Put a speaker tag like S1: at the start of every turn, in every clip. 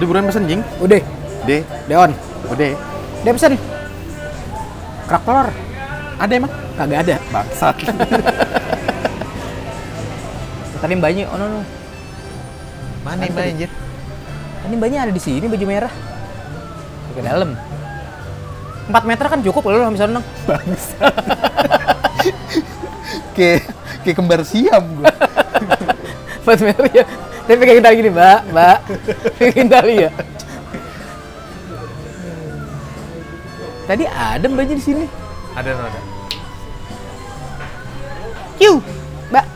S1: Udah buruan pesen jing.
S2: Udah,
S1: Deh,
S2: Deon.
S1: udah.
S2: Dia pesen. Kerak telur.
S1: Ada emang?
S2: Kagak ada.
S1: Bangsat.
S2: Tadi mbaknya, oh no, no.
S1: Mana yang anjir?
S2: Ini mbaknya ada di sini baju merah. Ke dalam. 4 meter kan cukup loh bisa nang.
S1: Bangsat. Kayak kayak kembar siam gua.
S2: 4 meter ya. Tapi kayak kita gini, Mbak, Mbak. Bikin tali ya. Tadi ada mbaknya di sini.
S1: Ada ada.
S2: Kiu, Mbak.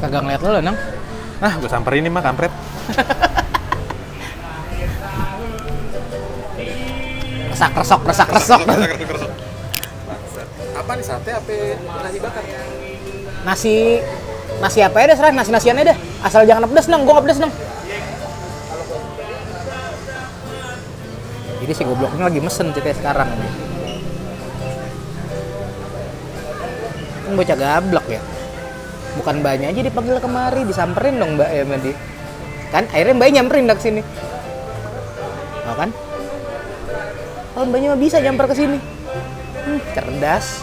S2: Kagak ngeliat lo, Nang.
S1: Nah, gua samperin nih mah kampret.
S2: Resak, resok, resak, resok.
S1: Apa nih sate apa nasi bakar?
S2: Nasi nasi apa ya deh, serah nasi nasian aja deh. Asal jangan pedes, Nang. Gua nggak pedes, Nang. Jadi si gobloknya lagi mesen ceritanya sekarang nih. Kan bocah gablok ya. Bukan mbaknya aja dipanggil kemari, disamperin dong mbak ya tadi. Kan akhirnya mbaknya nyamperin dah ke sini. Tau kan? Kalau mbaknya mah bisa nyamper ke sini. Hmm, cerdas.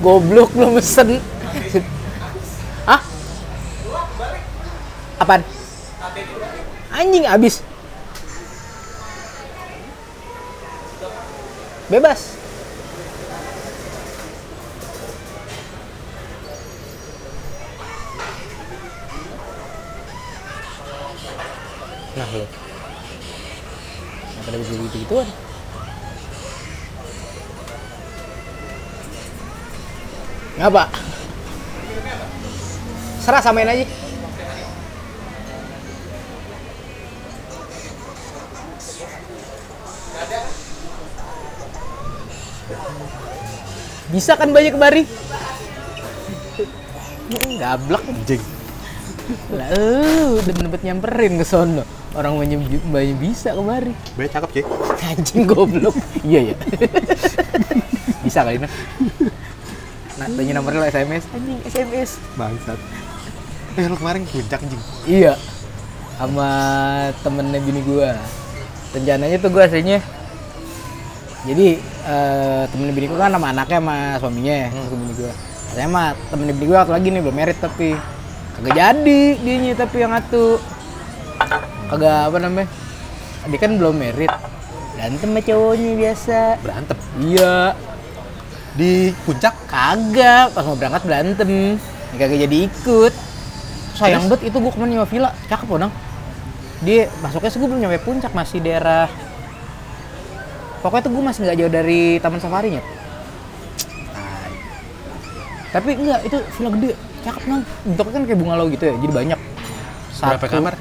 S2: Goblok lu mesen. Hah? Apaan? Anjing abis. Bebas. Nah lu. Kenapa ada bisa gitu-gituan? Ngapa? Serah samain aja. Bisa kan banyak kemari? Gablek
S1: Anjing.
S2: lah, eh, udah dapet nyamperin ke sono. Orang banyak banyak bisa kemari.
S1: Be cakep, Ci.
S2: Anjing goblok. iya ya. Bisa kali nah. Nah, tanya nomornya lo SMS. Anjing SMS.
S1: Bangsat. Eh, lu kemarin ke puncak anjing.
S2: Iya. Sama temennya bini gua. Rencananya tuh gua aslinya jadi eh, temennya bini gua kan sama anaknya sama suaminya terus sama bini gua. Saya mah temennya bini gua satu lagi nih belum merit tapi kagak jadi dianya tapi yang satu kagak apa namanya dia kan belum merit berantem sama cowoknya biasa
S1: Berantem
S2: iya
S1: di puncak.
S2: Kagak, pas mau berangkat berantem. Ya, kagak jadi ikut. Sayang banget itu gue kemarin nyewa villa, cakep dong. Dia masuknya sih gue belum nyampe puncak, masih daerah... Pokoknya tuh gue masih nggak jauh dari Taman Safari nya. Tapi enggak, itu villa gede, cakep dong. Bentuknya kan kayak bungalow gitu ya, jadi banyak.
S1: Berapa kamar?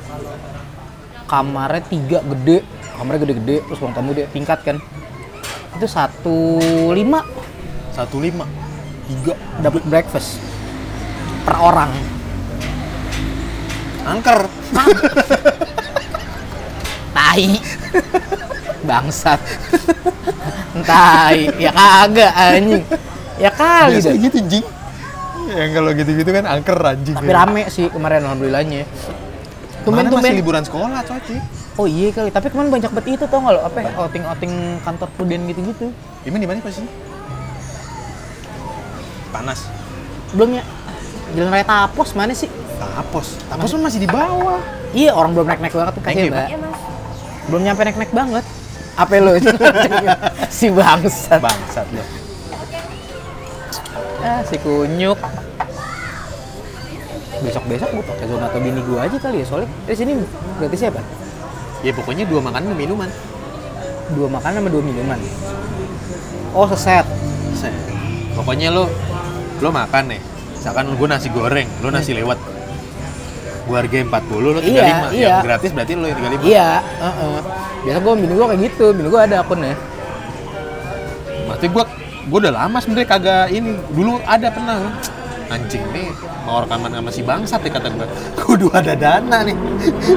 S2: Kamarnya tiga gede, kamarnya gede-gede, terus ruang tamu dia tingkat kan. Itu satu lima
S1: 15.
S2: tiga dapat breakfast per orang
S1: Angker.
S2: tai bangsat tai ya kagak anjing ya kali
S1: Biasa
S2: dah.
S1: gitu, anjing. Yang kalau gitu-gitu kan angker anjing.
S2: tapi rame sih kemarin alhamdulillahnya tumben
S1: Mana masih
S2: tumben
S1: liburan sekolah, coy, Ci.
S2: oh iya kali tapi kemarin banyak banget itu tau nggak lo apa ya, outing outing kantor puden gitu gitu
S1: Iman di mana posisinya? Panas.
S2: belumnya jalan raya tapos mana sih
S1: Tapos. Tapos pun masih di bawah.
S2: iya orang belum naik naik banget tuh
S1: Thank
S2: kasih
S1: you,
S2: mbak belum nyampe nek-nek banget apa lo si bangsat
S1: bangsat lo
S2: ah, si kunyuk besok besok gue pakai zona atau bini gue aja kali ya soalnya di sini gratis siapa
S1: ya pokoknya dua makanan dan minuman
S2: dua makanan sama dua minuman oh seset
S1: Set. pokoknya lo lo makan nih misalkan gue nasi goreng lo nasi lewat gue harga 40 lo 35
S2: Hmm. Iya, iya.
S1: yang Ya, gratis berarti lo yang 35
S2: iya heeh. biasa gue bini gue kayak gitu bini gue ada akunnya Iya.
S1: Maksudnya gue gue udah lama sebenarnya kagak ini dulu ada pernah anjing nih mau rekaman sama si bangsat ya kata gue kudu ada dana nih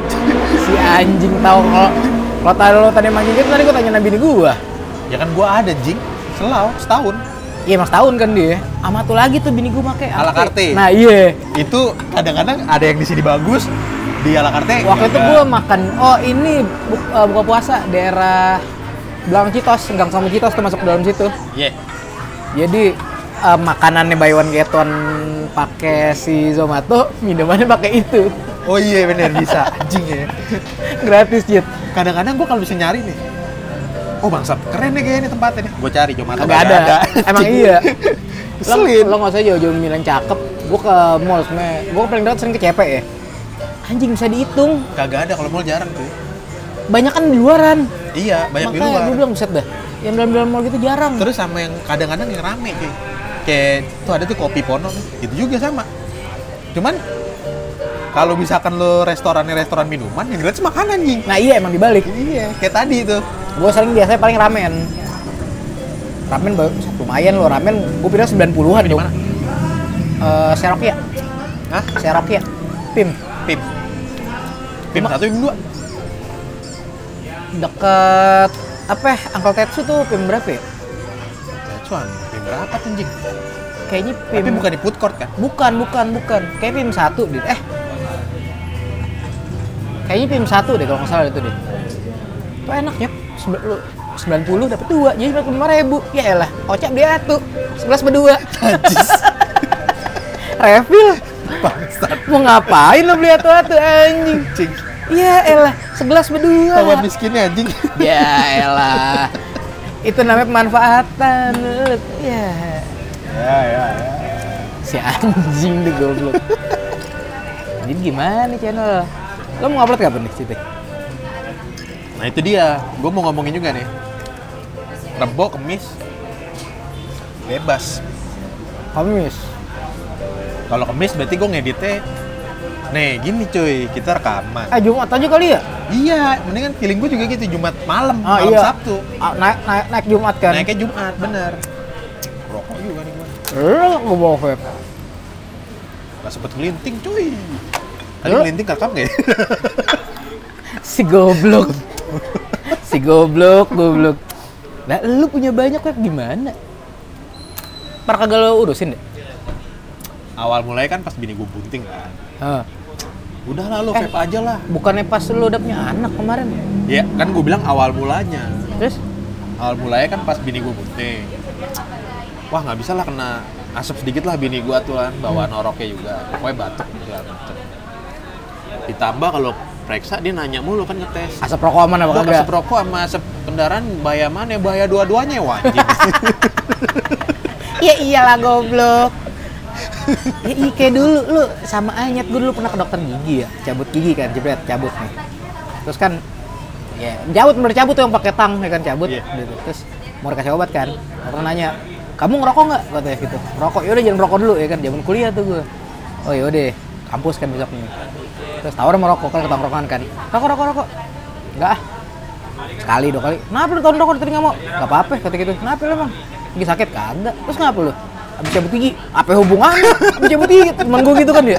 S2: si anjing tahu kalau kalau tadi lo tadi mancing gitu tadi gue tanya nabi gue
S1: ya kan gue ada jing selau setahun
S2: Iya mas tahun kan dia. Sama tuh lagi tuh bini gue make. apa
S1: Ala
S2: tuh?
S1: carte.
S2: Nah iya.
S1: itu kadang-kadang ada yang di sini bagus di ala karte
S2: Waktu itu gue makan. Oh ini bu- eh, buka puasa daerah belakang Citos, Gang sama Citos tuh masuk ke dalam situ.
S1: ya
S2: Jadi eh, makanannya buy one get one pakai si Zomato, minumannya pakai itu.
S1: oh iya bener bisa anjing ya
S2: Gratis Cit.
S1: kadang-kadang gue kalau bisa nyari nih oh bangsat keren nih kayaknya tempatnya nih gue cari cuma
S2: Kagak ada. Emang iya. Lo,
S1: Selin.
S2: lo gak usah jauh-jauh milih yang cakep. Gue ke mall sebenernya. Gue paling dekat sering ke CP ya. Anjing bisa dihitung.
S1: kagak ada kalau mall jarang tuh
S2: Banyak kan di luaran.
S1: iya banyak di
S2: Makanya
S1: luar
S2: gue bilang buset dah. Yang dalam-dalam mall gitu jarang.
S1: terus sama yang kadang-kadang yang rame kayak kayak tuh ada tuh kopi pono itu juga sama cuman kalau misalkan lo restorannya restoran minuman yang gratis makanan anjing
S2: Nah iya emang dibalik.
S1: iya kayak tadi itu
S2: Gue sering biasanya paling ramen. Ramen baru lumayan loh ramen. Gue pindah 90-an dong.
S1: mana?
S2: Eh Serokia,
S1: Hah?
S2: Serokia, Pim.
S1: pim pim satu pim dua
S2: Deket apa? ya, Angkel Tetsu tuh Pim berapa ya?
S1: cuan pim berapa tuh anjing
S2: Kayaknya Pim.
S1: tapi bukan di food court kan
S2: Bukan, bukan, bukan. Kayak Pim satu deh. Eh. Kayaknya Pim satu deh kalau nggak salah itu deh. Itu enak ya. 90 dapat dua, jadi 95 ribu. Ya elah, kocak dia satu, 11 berdua.
S1: Najis.
S2: Refill.
S1: bangsat
S2: Mau ngapain lo beli satu-satu anjing?
S1: anjing
S2: Ya elah, 11 berdua.
S1: Tawa miskinnya anjing
S2: Ya elah. Itu namanya pemanfaatan. Ya.
S1: ya ya
S2: Si anjing tuh goblok. Jadi gimana nih channel? Lo mau upload kapan nih, Cite?
S1: nah itu dia gue mau ngomongin juga nih rebo kemis bebas
S2: Kamis.
S1: Kalau kemis berarti gue ngeditnya Nih gini cuy, kita rekaman
S2: Eh Jumat aja kali ya?
S1: Iya, mendingan feeling gue juga gitu, Jumat malam,
S2: Ah,
S1: malam
S2: iya.
S1: Sabtu
S2: Ah, naik, naik, naik Jumat kan?
S1: Naiknya Jumat, bener Rokok juga nih gue
S2: Lo gue Eh, bawa vape.
S1: Gak sempet ngelinting cuy Tadi
S2: Lu?
S1: ngelinting kakak gak ya?
S2: Si goblok. si goblok, goblok. Nah, lu punya banyak vape gimana? Par kagak lo urusin deh.
S1: Awal mulai kan pas bini gue bunting kan
S2: Heeh.
S1: Udah lah lo
S2: Eh.
S1: vape aja lah
S2: Bukannya pas lu udah punya anak kemarin?
S1: Ya kan gue bilang awal mulanya
S2: Terus?
S1: Awal mulanya kan pas bini gue bunting Wah nggak bisa lah kena asap sedikit lah bini gue tuh kan Bawa
S2: Hmm.
S1: noroknya juga, pokoknya batuk gitu, segala macem. Ditambah kalau periksa dia nanya mulu kan ngetes
S2: Asap rokok aman apa
S1: Bang,
S2: kagak?
S1: asap rokok sama asap kendaraan bahaya mana? Bahaya dua-duanya ya wajib.
S2: Ya iyalah goblok. ya iya kayak dulu lu sama Anyet gue dulu pernah ke dokter gigi ya, cabut gigi kan, jebret cabut nih. Terus kan ya cabut bener cabut tuh yang pakai tang ya kan cabut
S1: Iya.
S2: gitu. Terus mau dikasih obat kan. Dokter nanya, "Kamu ngerokok nggak?" katanya gitu. "Rokok." "Yaudah jangan rokok dulu ya kan, zaman kuliah tuh gue. Oh yaudah, kampus kan besoknya. Terus tawar mau rokok kan ke tongkrongan kan. "Rokok, rokok, rokok." "Enggak ah." sekali dua kali kenapa lu tahun rokok tadi nggak mau nggak apa apa kata gitu kenapa lu emang gigi sakit kagak terus kenapa lu abis cabut gigi apa hubungannya abis cabut gigi temen gue gitu kan dia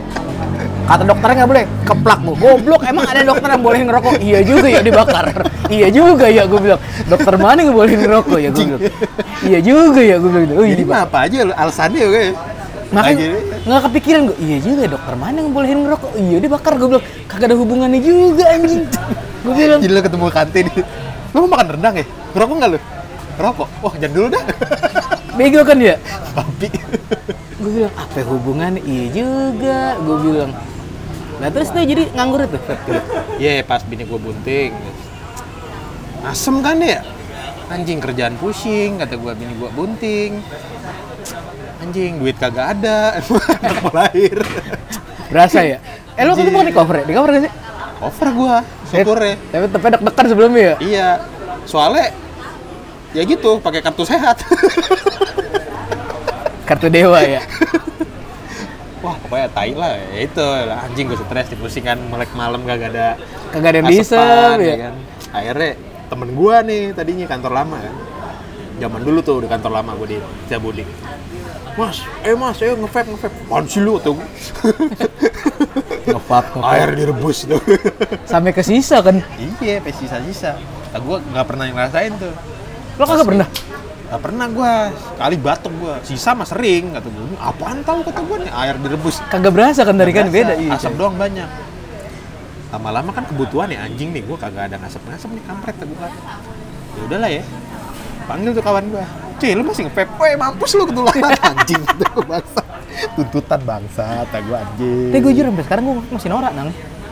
S2: kata dokternya nggak boleh keplak gue goblok emang ada dokter yang boleh ngerokok iya juga ya dibakar iya juga ya gue bilang dokter mana nggak boleh ngerokok ya gue bilang iya juga ya gue bilang gitu. oh, iya
S1: Jadi
S2: dibakar.
S1: mah apa aja lo, alasannya ya kayak.
S2: Makanya kan-
S1: Akhirnya-
S2: nggak kepikiran gue, iya juga ya, dokter mana yang bolehin ngerokok? Iya dia bakar, gue bilang, kagak ada hubungannya juga anjing. Gue bilang,
S1: Jadi lo ketemu kantin. Lo mau makan rendang ya? Ngerokok nggak lo? Ngerokok? Wah jangan dulu dah.
S2: bego kan dia?
S1: Babi.
S2: gue bilang apa hubungan iya juga gue bilang nah terus tuh jadi nganggur itu
S1: Iya pas bini gue bunting. asem kan dia anjing kerjaan pusing kata gua bini gua bunting anjing duit kagak ada anak mau lahir
S2: Berasa ya? Eh lu waktu itu bukan di cover ya? Di cover gak sih?
S1: cover gua syukurnya
S2: Eh, Tapi tapi deg-degan sebelumnya ya?
S1: iya soalnya ya gitu pakai kartu sehat
S2: Kartu dewa ya?
S1: wah pokoknya tai lah ya itu lah, anjing gue stres dipusing kan melek malam gak ada
S2: Kagak ada yang
S1: asepan,
S2: diisep ya?
S1: kan akhirnya temen gua nih tadinya kantor lama kan zaman dulu tuh udah kantor lama gue di Ciabudik mas eh mas ayo nge-vape nge-vape apaan sih lu tuh
S2: Ngepap, ngepap.
S1: air direbus tuh
S2: Sampai ke sisa kan?
S1: iya sampai sisa-sisa nah, gue nggak pernah ngerasain tuh
S2: Lo kagak pernah?
S1: Gak pernah gua, sekali batuk gua. Sisa mah sering, kata gua. "Ini Apaan tahu kata gua nih air direbus.
S2: Kagak berasa kan dari kan
S1: Berasa,
S2: beda iya.
S1: Asap doang banyak. Lama-lama kan kebutuhan ya anjing nih gua kagak ada ngasep-ngasep nih kampret kata gua. Ya udahlah ya. Panggil tuh kawan gua. Cuy, lu masih nge-vape? Weh, mampus lu ketularan anjing kata gua, bangsa. Tuntutan bangsa, kata gua anjing.
S2: Tapi gue jujur sampai sekarang gue masih norak nang.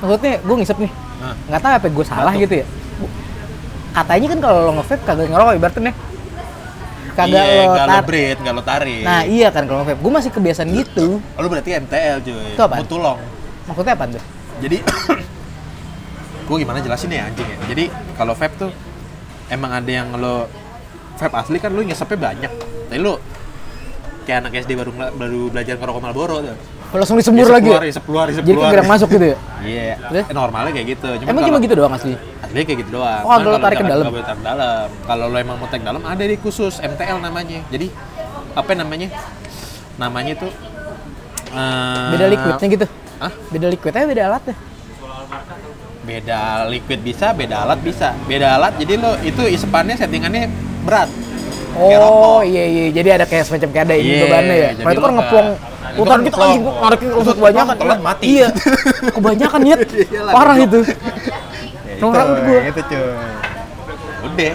S2: Maksudnya gue ngisep nih.
S1: Hah?
S2: Nggak tahu apa gue salah
S1: Batuk.
S2: gitu ya. Katanya kan kalau lo nge-vape kagak ngerokok ibaratnya nih. Kagak
S1: iya, gak
S2: lo
S1: lo
S2: tar.
S1: breed, gak lo tarik.
S2: Nah iya kan kalau nge-vape. Gue masih kebiasaan gitu.
S1: Lu berarti MTL cuy.
S2: Itu apaan?
S1: Mutulong.
S2: Maksudnya apa tuh?
S1: jadi gue gimana jelasin ya anjing ya jadi kalau vape tuh emang ada yang lo vape asli kan lo ngisepnya banyak tapi lo kayak anak SD baru ngela- baru belajar ngerokok Marlboro tuh
S2: Lo Langsung disembur lagi ya?
S1: keluar isep keluar isep
S2: Jadi
S1: keluar.
S2: kegerak masuk gitu ya?
S1: iya
S2: Terus?
S1: Eh, normalnya kayak gitu
S2: Emang
S1: kalau-
S2: cuma gitu doang asli?
S1: aslinya kayak gitu doang
S2: Oh, kalau
S1: Cuman
S2: lo tarik ke
S1: nggak-
S2: dalam.
S1: nggak boleh tarik dalam kalau lo emang mau tarik dalam ada di khusus MTL namanya jadi apa namanya namanya tuh eh,
S2: Beda liquidnya gitu?
S1: Hah?
S2: Beda liquidnya beda alatnya?
S1: beda liquid bisa, beda alat bisa. Beda alat jadi lo itu isepannya settingannya berat. Kayak rokok.
S2: Oh iya iya, jadi ada kayak semacam kayak ada ini
S1: Iya,
S2: bebannya ya.
S1: jadi
S2: Kalau itu
S1: lo
S2: kan ngeplong
S1: nggak- itu
S2: putar
S1: kan
S2: gitu anjing
S1: ngeplong.
S2: narikin
S1: Itu kan
S2: rumput kebanyakan.
S1: ngeplong, telan, mati.
S2: Iya. Kebanyakan nyet.
S1: Iyalah,
S2: Parah
S1: goblok.
S2: itu.
S1: Ya,
S2: Norak menurut gua.
S1: Itu cuy. Udah.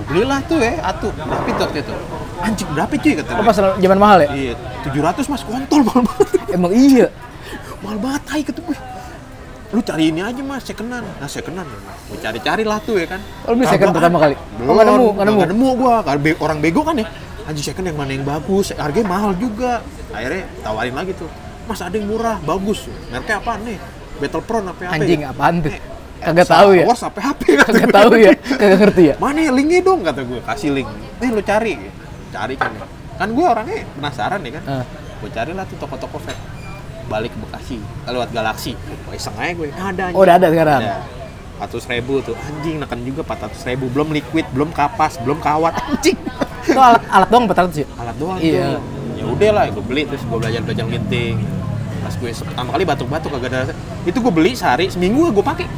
S1: Gue belilah tuh ya, atu. Berapa itu waktu itu? Anjing berapa cuy kata
S2: Lo
S1: gue.
S2: pas zaman mahal ya?
S1: Iya, 700 mas kontol mahal banget.
S2: Emang iya.
S1: Mahal banget tai kata gue. Lu cari ini aja mas, sekendan. Nah sekendan. Gue cari-cari lah tuh ya kan.
S2: Lo beli Oh, second
S1: Kagak
S2: pertama
S1: ada.
S2: kali?
S1: Belum,
S2: Oh, nggak nemu, nggak nemu.
S1: Nggak nemu gua. Karena be- orang bego kan ya. Anjing second yang mana yang bagus, harganya mahal juga. Akhirnya tawarin lagi tuh. Mas ada yang murah, bagus. Mereknya apa nih? Battle Pro apa apa?
S2: Anjing apaan tuh?
S1: Eh,
S2: Kagak tahu ya.
S1: Wars apa HP kata
S2: Kagak
S1: gua.
S2: tahu ya. Kagak ngerti ya.
S1: Mana ya linknya dong kata gue, kasih link. Nih lu cari, cari kan. Kan gue orangnya penasaran ya kan.
S2: Heeh.
S1: Gue cari lah tuh toko-toko vape. Balik ke Bekasi, eh, lewat Galaksi. Gue iseng aja gue. Ada
S2: Oh, udah ada sekarang?
S1: Ada. 400 ribu tuh anjing neken juga 400 ribu belum liquid belum kapas belum kawat anjing
S2: Itu alat alat doang 400 ya.
S1: alat doang tuh
S2: Iya.
S1: ya udah lah gue beli terus gue belajar belajar nginting pas gue pertama kali batuk-batuk kagak ada rasa. itu gue beli sehari seminggu gue pakai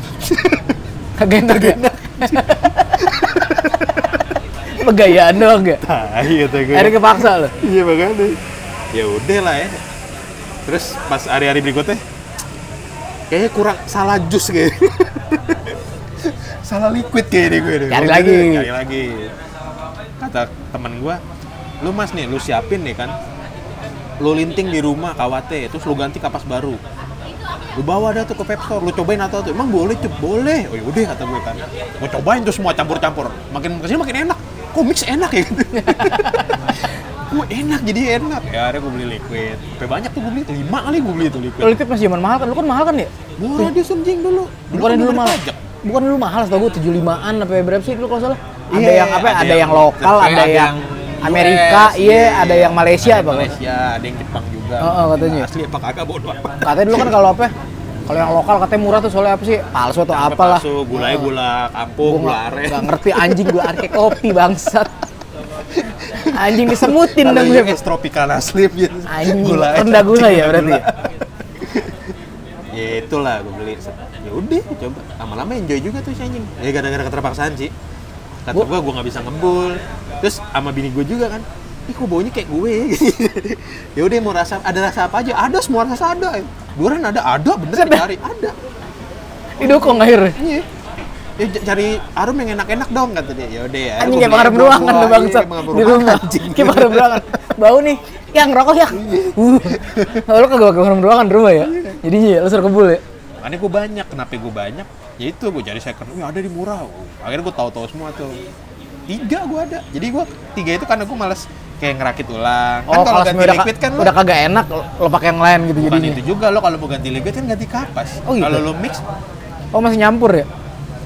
S2: Kagak enak ya. Pegayaan doang ya.
S1: tai kata gue.
S2: Akhirnya kepaksa lo.
S1: Iya makanya. Ya udah lah ya. Terus pas hari-hari berikutnya, kayaknya kurang salah jus kayak. salah liquid kayaknya gue. deh.
S2: Cari
S1: Udah,
S2: lagi.
S1: Cari lagi. Kata teman gue, lu mas nih, lu siapin nih kan. Lu linting di rumah kawate, terus lu ganti kapas baru. Lu bawa dah tuh ke vape store, lu cobain atau tuh. Emang boleh, Cep? Boleh. Oh yaudah kata gue kan. Gue cobain tuh semua campur-campur. Makin kesini makin enak. Kok mix enak ya gitu. Gue enak jadi enak. Ya akhirnya gue beli liquid. Sampai banyak tuh gue beli tuh. Lima kali gue beli tuh liquid.
S2: Lo liquid masih zaman mahal kan? Lo kan mahal kan ya?
S1: Murah dia sunjing dulu.
S2: Bukan
S1: kan
S2: dulu
S1: belum ada
S2: mahal.
S1: pajak.
S2: Bukan dulu mahal, setahu gue 75-an apa ya, berapa sih dulu kalau salah. Ada
S1: Iya,
S2: yang apa? ya? Ada, yang, lokal,
S1: Jepang,
S2: ada yang Amerika,
S1: US,
S2: iya, ada yang Malaysia
S1: ada yang
S2: apa kan?
S1: Malaysia, ada yang Jepang juga.
S2: Oh, oh, katanya.
S1: Asli apa kagak bodoh amat.
S2: Katanya dulu kan kalau apa? Kalau yang lokal katanya murah tuh soalnya apa sih? Palsu atau
S1: Sampai
S2: apalah.
S1: palsu, gulanya gula kampung,
S2: Gue
S1: gula
S2: nggak
S1: aren.
S2: nggak ngerti anjing gue arke kopi bangsat. Anjing disemutin dong
S1: Lalu
S2: gue.
S1: yang es tropicana asli gitu.
S2: Anjing,
S1: Gulanya
S2: rendah gula ya
S1: rendah
S2: berarti
S1: gula.
S2: ya?
S1: ya itulah gue beli. Ya udah, gua coba. Lama-lama enjoy juga tuh si anjing. Ya gara-gara keterpaksaan sih. Kata
S2: Gua-
S1: gue, gue nggak bisa ngembul. Terus sama bini gue juga kan. Ih kok baunya kayak gue ya? ya udah mau rasa ada rasa apa aja? Ada semua rasa ada. Durian ada, ada bener cari ada.
S2: Itu kok akhirnya?
S1: Iya. Ya, c- cari arum yang enak-enak dong kata dia. Ya udah ya.
S2: Anjing
S1: gua
S2: kayak pengaruh
S1: beli
S2: ruangan
S1: buah-buah,
S2: tuh
S1: iya,
S2: bangsat.
S1: kayak pengaruh
S2: Di rumah.
S1: anjing. Iya.
S2: Kayak pengaruh ruangan. Bau nih. Oh, kan Yang rokok ya. Uh. Lo kagak pakai pengaruh ruangan di rumah ya? Jadinya ya, lo iya, suruh kebul ya?
S1: makanya gue banyak kenapa gue banyak ya itu gue cari second Wih, ada di murah akhirnya gue tahu-tahu semua tuh tiga gue ada jadi gue tiga itu karena gue males kayak ngerakit ulang kan
S2: oh
S1: kalau
S2: kalau
S1: ganti
S2: sebenarnya udah,
S1: liquid kan
S2: ka-
S1: lo
S2: udah kagak enak lo, lo pakai yang lain gitu
S1: bukan
S2: jadinya
S1: itu juga lo kalau mau ganti liquid kan ganti kapas
S2: Oh, gitu?
S1: kalau lo mix
S2: oh masih nyampur ya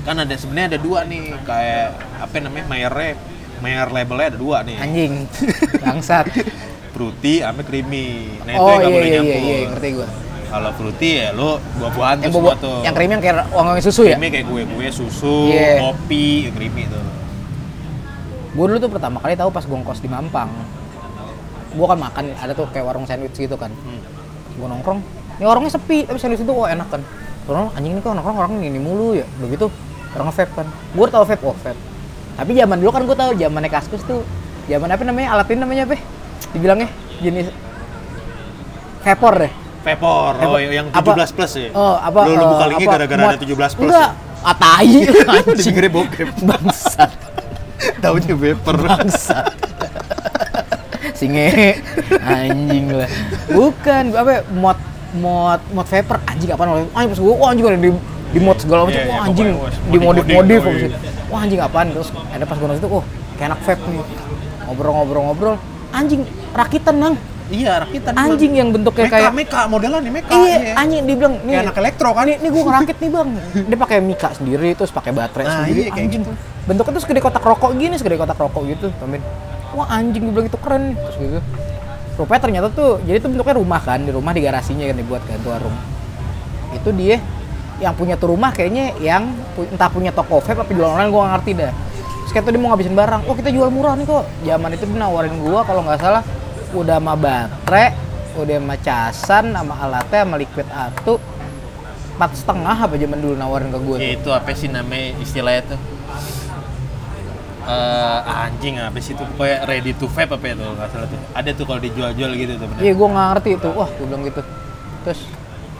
S1: kan ada sebenarnya ada dua nih kayak apa namanya Mayernya Mayer labelnya ada dua nih
S2: anjing bangsat
S1: fruity sama creamy nah itu
S2: oh
S1: yang nggak
S2: iya
S1: boleh
S2: iya iya,
S1: nyampur
S2: iya ngerti gua
S1: kalau fruity ya lo buah-buahan tuh
S2: yang bobo
S1: semua tuh
S2: yang krim yang kayak wangi susu ya
S1: creamy kayak kue-kue susu
S2: Iya.
S1: kopi ya creamy tuh
S2: gue dulu tuh pertama kali tahu pas gue ngkos di Mampang gue kan makan ada tuh kayak warung sandwich gitu kan
S1: Hmm.
S2: gue nongkrong ini orangnya sepi tapi sandwich itu wah enak kan orang anjing ini kok nongkrong orang ini mulu ya begitu orang vape kan gue tahu vape oh vape tapi zaman dulu kan gue tahu zamannya kaskus tuh zaman apa namanya alat ini namanya apa ya? dibilangnya jenis vapor deh
S1: Vapor, oh
S2: Vapor.
S1: yang
S2: Apa-
S1: 17 plus ya?
S2: oh apa
S1: Lo, lo
S2: eh,
S1: buka linknya
S2: apa,
S1: gara-gara ada
S2: muat-
S1: 17 plus
S2: enggak atai
S1: ya?
S2: anjing
S1: Dengernya bokep
S2: bangsat
S1: Taunya vapor
S2: bangsa singe anjing lah bukan apa ya, mod mod mod vapor anjing apaan namanya anjing pas gue wah anjing ada di di mod segala macam
S1: Iya, iya,
S2: wah anjing
S1: pokoknya, wah,
S2: di modif modif
S1: modif-modif. gitu.
S2: wah anjing apaan terus ada pas gue nonton itu oh kayak enak vape nih ngobrol-ngobrol-ngobrol anjing rakitan nang
S1: Iya, rakitan
S2: anjing yang bentuknya
S1: Meka,
S2: kayak
S1: meka, modelan nih meka
S2: iya anjing dibilang nih
S1: Kayak anak elektro kan?
S2: nih, nih gue ngerakit nih bang dia pakai mika sendiri terus pakai baterai
S1: Nah,
S2: sendiri
S1: iya, kayak
S2: anjing
S1: gitu.
S2: bentuknya tuh segede kotak rokok gini segede kotak rokok gitu Tomin wah anjing dibilang itu keren nih. terus gitu rupanya ternyata tuh jadi tuh bentuknya rumah kan di rumah di garasinya kan dibuat kan tuh warung itu dia yang punya tuh rumah kayaknya yang pu- entah punya toko vape apa jualan online gue gak ngerti dah terus kayak tuh dia mau ngabisin barang oh kita jual murah nih kok zaman itu dia nawarin gua kalau nggak salah udah sama baterai udah sama casan sama alatnya sama liquid atu empat setengah apa zaman dulu nawarin ke gue
S1: Ya itu apa sih namanya istilahnya tuh? Eh, anjing apa sih itu pokoknya ready to vape apa itu nggak salah tuh ada tuh kalau dijual-jual gitu tuh bener.
S2: Iya, gue nggak ngerti itu. Wah, gue bilang gitu. Terus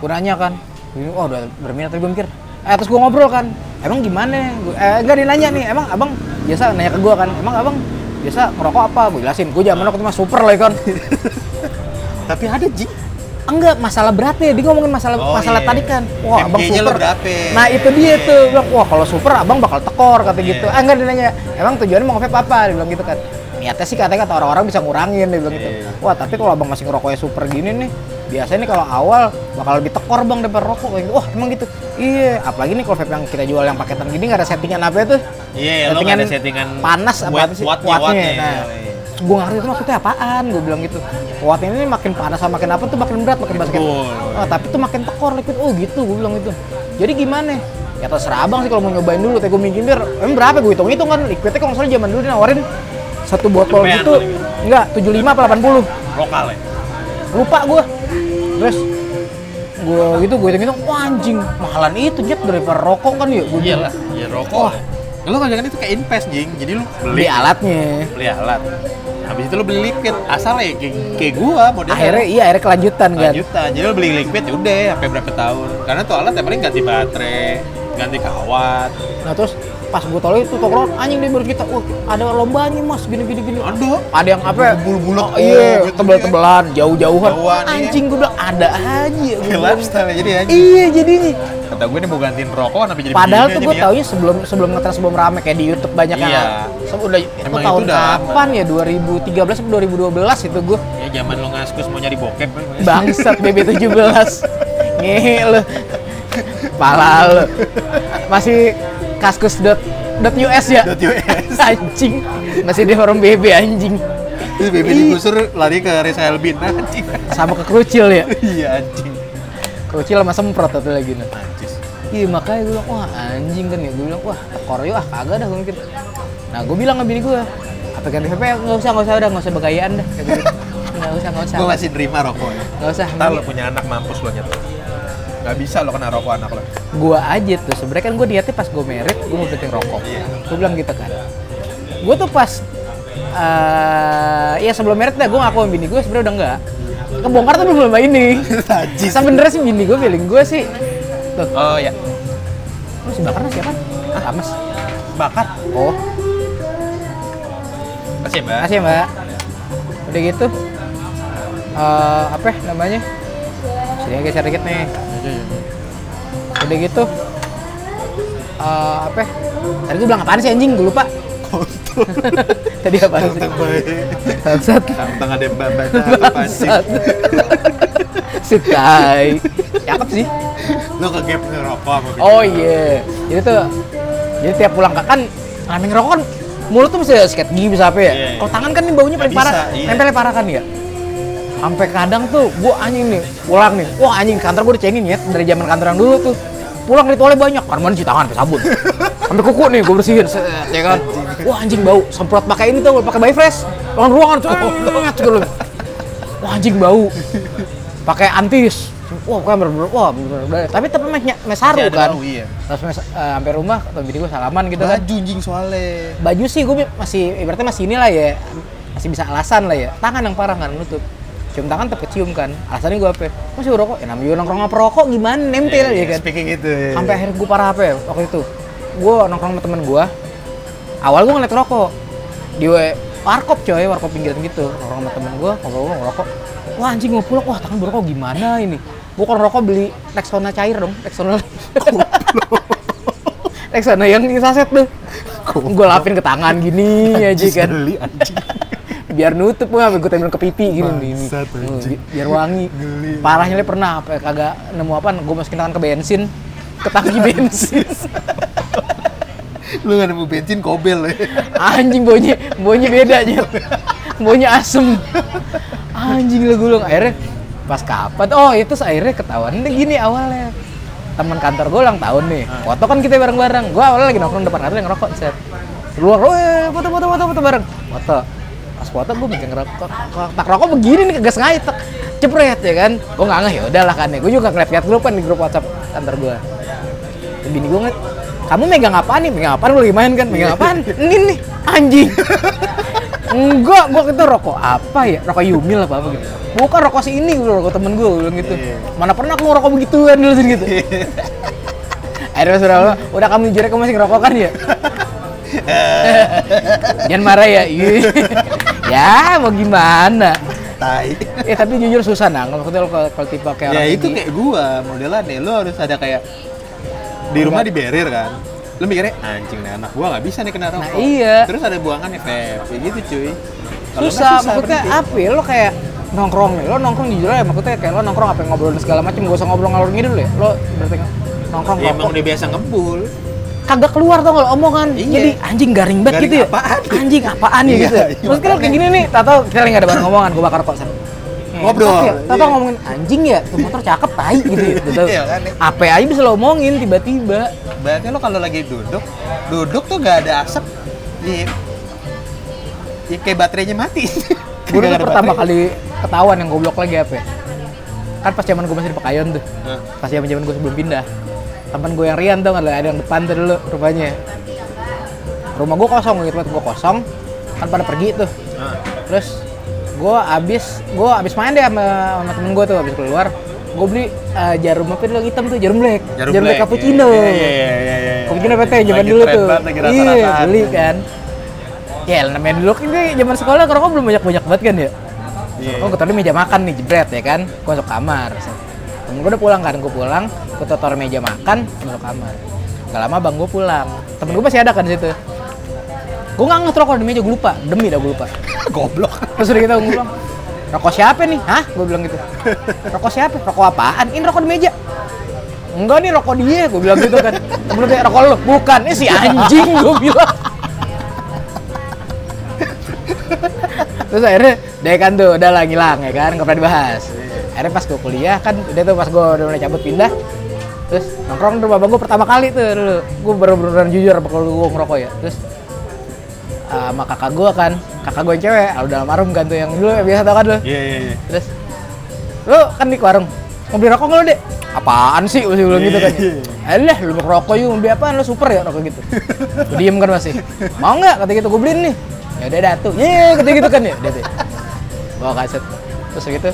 S2: gue nanya kan, Gini, oh udah berminat tapi gue mikir. Eh, terus gue ngobrol kan, emang gimana? Gua, eh, enggak dia nanya nih, emang abang biasa nanya ke gue kan, emang abang biasa ngerokok apa? Gue jelasin, gue zaman waktu itu mah super lah ya kan.
S1: tapi ada ji
S2: Enggak, masalah beratnya, dia ngomongin masalah
S1: Oh,
S2: masalah
S1: iya.
S2: tadi kan. Wah, abang
S1: MG-nya lu
S2: super.
S1: berapa?
S2: Nah, itu dia tuh. Gua bilang, wah kalau super abang bakal tekor kata
S1: Iya.
S2: gitu. Ah, enggak dia nanya, emang tujuannya mau vape apa? Dia bilang gitu kan. Niatnya sih katanya kata orang-orang bisa ngurangin dia bilang gitu.
S1: Iya.
S2: Wah, tapi kalau abang masih ngerokoknya super gini nih, biasanya nih kalau awal bakal lebih tekor bang daripada rokok kayak gitu. Wah, emang gitu. Iya, apalagi nih kalau vape yang kita jual yang paketan gini nggak ada settingan apa ya itu.
S1: iya lo nggak ada settingan
S2: panas apa
S1: watt-
S2: sih?
S1: wattnya wattnya
S2: Nah,
S1: iya.
S2: gue nggak ngerti itu maksudnya apaan gue bilang gitu kuatnya ini makin panas sama makin apa tuh makin berat makin basket
S1: Betul.
S2: oh, tapi tuh makin tekor liquid oh gitu gue bilang gitu jadi gimana ya terserah abang sih kalau mau nyobain dulu teh gue minjem biar emang berapa gue hitung hitung kan liquidnya kalau nggak salah zaman dulu dia nawarin satu botol
S1: Lumayan,
S2: gitu enggak 75 apa 80
S1: lokal ya
S2: lupa gue terus gue gitu gue hitung hitung wah anjing mahalan itu jet daripada rokok kan ya gue
S1: iyalah ya rokok
S2: Wah.
S1: ya. lo kadang-kadang itu kayak invest jing jadi lo beli
S2: beli alatnya
S1: beli alat habis itu lo beli liquid asal ya kayak, kayak gua modelnya
S2: akhirnya iya akhirnya kelanjutan kan
S1: lanjutan Nah, jadi lo beli liquid ya udah sampai berapa tahun karena tuh alat yang paling ganti baterai ganti kawat
S2: Nah terus pas gue tolong itu tolong anjing dia baru kita, wah ada lombanya mas gini gini gini.
S1: ada
S2: Ada yang apa?
S1: Bulu-bulat,
S2: Oh, iya,
S1: oh, gitu
S2: tebel tebelan, jauh jauhan.
S1: Jauhan, iya.
S2: Anjing gue bilang ada aja.
S1: Kayak
S2: Gua bilang.
S1: lifestyle ya, jadi anjing
S2: Iya jadinya.
S1: kata gue nih mau gantiin rokok kenapa jadi
S2: Padahal
S1: begini
S2: tuh
S1: aja
S2: gue
S1: nih ya?
S2: taunya sebelum sebelum ngetrend sebelum rame kayak di YouTube banyak
S1: Iya.
S2: yang Se- udah itu
S1: Emang itu
S2: tahun
S1: udah lama.
S2: kapan ya 2013 atau 2012 itu gue
S1: ya zaman lo ngaskus mau nyari bokep kan,
S2: bangsat BB17 ngehe lu pala lu masih kaskus dot dot US ya
S1: Dot US.
S2: anjing masih di forum BB anjing
S1: Terus baby
S2: Ih.
S1: digusur lari ke Reza Elbin anjing.
S2: sama ke kerucil ya
S1: Iya anjing.
S2: kerucil sama semprot itu lagi nah
S1: Anjis.
S2: Iya makanya gue bilang wah anjing kan ya gue bilang wah tekor yuk ah kagak dah gue mikir. Nah gue bilang ke bini gue apa ganti VP nggak usah nggak usah udah nggak usah begayaan dah. Kata gitu. Nggak usah nggak usah
S1: Gue masih nerima rokoknya.
S2: nggak usah.
S1: Ntar lo punya anak mampus lo nyet. Gak bisa lo kena rokok anak lo.
S2: Gue aja tuh sebenarnya kan gue niatnya pas gue merit gue mau berhenti rokok.
S1: Iya.
S2: Gue bilang gitu kan. Gue tuh pas eh ya sebelum merit dah gue ngaku sama bini gue sebenarnya udah enggak. Kebongkar tapi belum sama ini.
S1: Anjis.
S2: Sebenernya sih bini gue feeling gue sih. Tuh,
S1: Oh ya.
S2: lu si bakar siapa? Ah, Ames.
S1: Bakat.
S2: Oh,
S1: Kasih mbak.
S2: Makasih ya mbak. Udah gitu, eh apa ya namanya? Sini geser dikit nih. udah gitu eh apa ya? tadi gue bilang apaan sih anjing gue lupa tadi apa sih bangsat
S1: Tentang ada baca apa sih?
S2: bangsat si tai cakep sih
S1: Lo ke gap ngerokok sama video.
S2: oh iya jadi tuh jadi tiap pulang ke kan rame ngerokok kan mulut tuh bisa skate gigi bisa apa ya
S1: Iya.
S2: kalau tangan kan nih baunya
S1: Nggak
S2: paling parah
S1: bisa, iya.
S2: nempelnya parah kan ya sampai kadang tuh gua anjing nih pulang nih wah anjing kantor gua dicengin ya dari zaman kantor yang dulu tuh pulang ritualnya banyak kan cuci tangan pakai sabun sampai kuku nih gua bersihin set, ya kan wah anjing bau semprot pakai ini tuh pakai bayi fresh ruangan ruangan Oh, tuh wah anjing bau pakai antis wah kan bener-bener wah bener-bener tapi tapi mes- mesaru
S1: Iya, ada
S2: kan
S1: bau, iya.
S2: terus mes, eh, sampai rumah atau bini gue salaman gitu kan
S1: Baju anjing soalnya.
S2: baju sih gue masih ibaratnya masih inilah ya masih bisa alasan lah ya tangan yang parah kan nutup cium tangan tetap kecium kan alasannya gue apa masih rokok ya namanya juga nongkrong sama perokok gimana nempel ya kan
S1: Speaking itu. iya.
S2: sampai akhirnya gue parah apa ya waktu itu gue nongkrong sama temen gue awal gue ngeliat rokok di we- warkop coy warkop pinggiran gitu nongkrong sama temen gue ngobrol-ngobrol ngerokok wah anjing gue pulang wah tangan berokok gimana ini gue kalau rokok beli Rexona cair dong Rexona Rexona yang di saset tuh gue lapin ke tangan gini aja kan
S1: Geli anjing.
S2: biar nutup gue sampai gue tempel ke pipi gini nih ini.
S1: Bangsat, anjing.
S2: Bi- biar wangi
S1: Geli.
S2: parahnya dia pernah apa ya, kagak nemu apa gue masukin tangan ke bensin ke tangki bensin
S1: Lu nggak nemu bensin kobel ya.
S2: anjing baunya baunya beda aja baunya asem anjing lah gulung akhirnya pas kapan oh itu akhirnya ketahuan Ini gini awalnya teman kantor gue ulang tahun nih foto kan kita bareng-bareng gue awalnya lagi nongkrong depan kantor yang ngerokok set keluar "Weh, foto foto foto foto bareng foto pas foto gue bikin ngerokok tak rokok begini nih kagak sengaja tek cepret ya kan gue nggak ngeh ya udahlah kan ya gue juga ngeliat-ngeliat grupan di grup WhatsApp kantor gue Terus bini gue ngeliat, kamu megang apaan nih? Megang apaan lu lagi main kan? Megang apaan? Ini nih, anjing. Enggak, gua itu rokok apa ya? Rokok Yumil apa apa gitu. Bukan rokok si ini, gua bilang, rokok temen gue bilang gitu.
S1: Iya.
S2: Mana pernah aku ngerokok begituan dulu sih gitu. Akhirnya sudah Allah, udah kamu jujur kamu masih ngerokok kan ya? Jangan marah ya. Iya. ya, mau gimana?
S1: Tai.
S2: Eh tapi jujur susah nang kalau kalau kalau tipe kayak
S1: Ya
S2: orang
S1: itu
S2: ini.
S1: kayak gua modelannya. Lu harus ada kayak di rumah diberir kan. Lu mikirnya anjing nih anak gua nggak bisa nih kena rokok.
S2: iya.
S1: Terus ada buangan ya vape kayak gitu cuy. Kalau nggak
S2: susah, maksudnya
S1: berhenti.
S2: apa ya, lo kayak nongkrong nih, lo nongkrong jujur aja maksudnya kayak lo nongkrong apa yang ngobrolin segala macam, gak usah ngobrol ngalor ngidul ya, lo berarti nongkrong
S1: Ya, emang
S2: rokok,
S1: udah biasa ngebul.
S2: kagak keluar tau kalau omongan,
S1: Iya.
S2: jadi anjing garing banget
S1: Garing
S2: gitu ya,
S1: apaan?
S2: anjing apaan ya
S1: Iya,
S2: gitu,
S1: iya,
S2: terus kita kayak
S1: makanya. Hmm.
S2: gini nih, tak tau kita lagi gak ada bahan ngomongan, gue bakar kok
S1: Ngobrol,
S2: tak tau
S1: iya.
S2: ngomongin anjing ya, tuh motor cakep, tai gitu ya, gitu.
S1: Iya, kan, ya.
S2: apa aja bisa lo omongin tiba-tiba,
S1: Berarti lo kalau lagi duduk, duduk tuh gak ada asap, ya, ya kayak baterainya mati. Gak
S2: gue dulu
S1: ada
S2: pertama
S1: baterai.
S2: kali ketahuan yang goblok lagi apa ya, kan pas zaman gue masih di Pekayon tuh,
S1: Hah?
S2: pas zaman zaman gue sebelum pindah teman gue yang Rian tuh nggak ada yang depan tuh dulu rumahnya rumah gue kosong gitu gue kosong kan pada pergi tuh
S1: Hah?
S2: terus gue abis gue abis main deh sama, sama temen gue tuh abis keluar gue beli eh, jarum apa dulu yang hitam tuh jarum black
S1: black,
S2: cappuccino
S1: iya, iya, iya, iya, iya, iya.
S2: Cappuccino PT zaman
S1: Lagi
S2: dulu
S1: tren
S2: tuh
S1: banget, Lagi
S2: iya
S1: rata-rataan.
S2: beli kan ya namanya dulu kan gue zaman sekolah rokok belum banyak banyak banget kan ya
S1: Iya.
S2: Oh, gue tadi meja makan nih, jebret ya kan. Gue masuk kamar. Temen gue udah pulang kan, gue pulang, gue totor meja makan, gua masuk kamar. Gak lama bang gue pulang. Temen gue masih ada kan di situ. Gue nggak ngetrok kalau di meja, gue lupa. Demi dah gue lupa.
S1: Goblok.
S2: Terus udah gitu gue bilang, rokok siapa nih? Hah? Gue bilang gitu. Rokok siapa? Rokok apaan? Ini rokok di meja. Enggak nih rokok dia, gue bilang gitu kan. Temen gue kayak rokok lu, bukan. Ini si anjing, gue bilang. Terus akhirnya deh kan tuh udah lah ngilang ya kan, nggak pernah dibahas. Akhirnya pas gue kuliah kan, udah tuh pas gue udah mulai cabut pindah, terus nongkrong di rumah gue pertama kali tuh dulu. Gue baru beneran jujur apa kalau gue ngerokok ya. Terus uh, sama kakak gue kan kakak gue yang cewek udah almarhum kan tuh yang dulu yang biasa tau kan lo
S1: Iya, iya, iya.
S2: terus lo kan di warung mau beli rokok nggak lo dek apaan sih gue bilang gitu kan
S1: Iya.
S2: alah lu mau rokok yuk mau beli apaan lo super ya rokok gitu gue diem kan masih mau nggak kata gitu gue beliin nih ya udah datu iya kata gitu kan ya udah deh bawa kaset terus gitu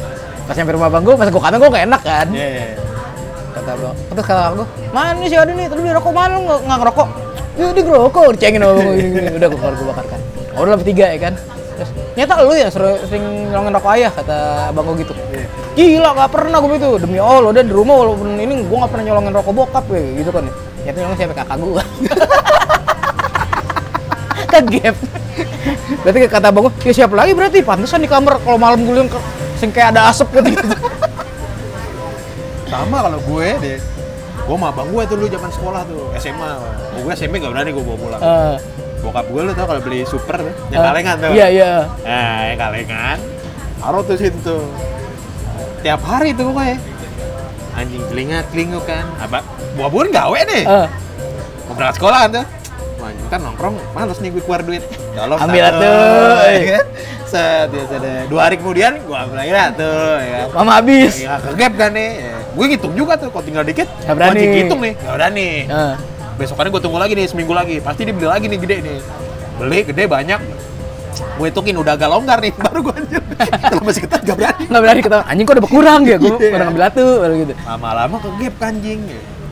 S2: pas nyampe rumah bang gue pas gue kata gue gak enak kan
S1: Iya, iya.
S2: kata bro terus kata aku mana nih si Adi nih tadi beli rokok mana lu nggak nggak ngerokok ya dia ngerokok dicengin sama gue gini, gini. udah gue keluar gue bakar kan oh, udah lebih tiga ya kan terus nyata lu ya sering, sering nyolongin rokok ayah kata abang gue gitu
S1: Iya.
S2: gila nggak pernah gue itu demi allah dan di rumah walaupun ini gue nggak pernah nyolongin rokok bokap gue gitu kan ya ternyata nyolong siapa kakak gue kegep Kan berarti kata abang gue ya siapa lagi berarti pantesan di kamar kalau malam gue lihat sing kayak ada asap gitu
S1: sama kalau gue deh gue sama abang gue tuh dulu zaman sekolah tuh SMA Oh, gue SMP gak berani gue bawa pulang
S2: Eh,
S1: bokap gue lu tau kalau beli super tuh yang
S2: eh,
S1: kalengan tuh
S2: iya iya
S1: nah yang kalengan taruh tuh situ tuh tiap hari tuh gue anjing telinga telinguk kan abang buah buahan gawe nih
S2: Eh,
S1: mau berangkat sekolah kan tuh Wah, anjing, ntar nongkrong males nih gue keluar duit tolong
S2: Ambil
S1: taruh,
S2: atuh,
S1: ya
S2: eh.
S1: kan? set ya, set, ya. dua hari kemudian gue ambil lagi dah tuh ya kan?
S2: mama habis
S1: Ya kegap kan nih. Ya. Gue ngitung juga tuh, kalau tinggal dikit.
S2: Nggak berani.
S1: wajib ngitung nih, nggak berani.
S2: Eh,
S1: Besokannya gue tunggu lagi nih, seminggu lagi. Pasti dia beli lagi nih, gede nih. Beli, gede, banyak. Gue hitungin udah agak longgar nih, baru gue anjir. Kalau masih ketat nggak berani.
S2: nggak berani ketawa anjing kok udah berkurang ya gue
S1: Iya.
S2: kurang ambil satu baru gitu
S1: Lama-lama kegap kan, jing.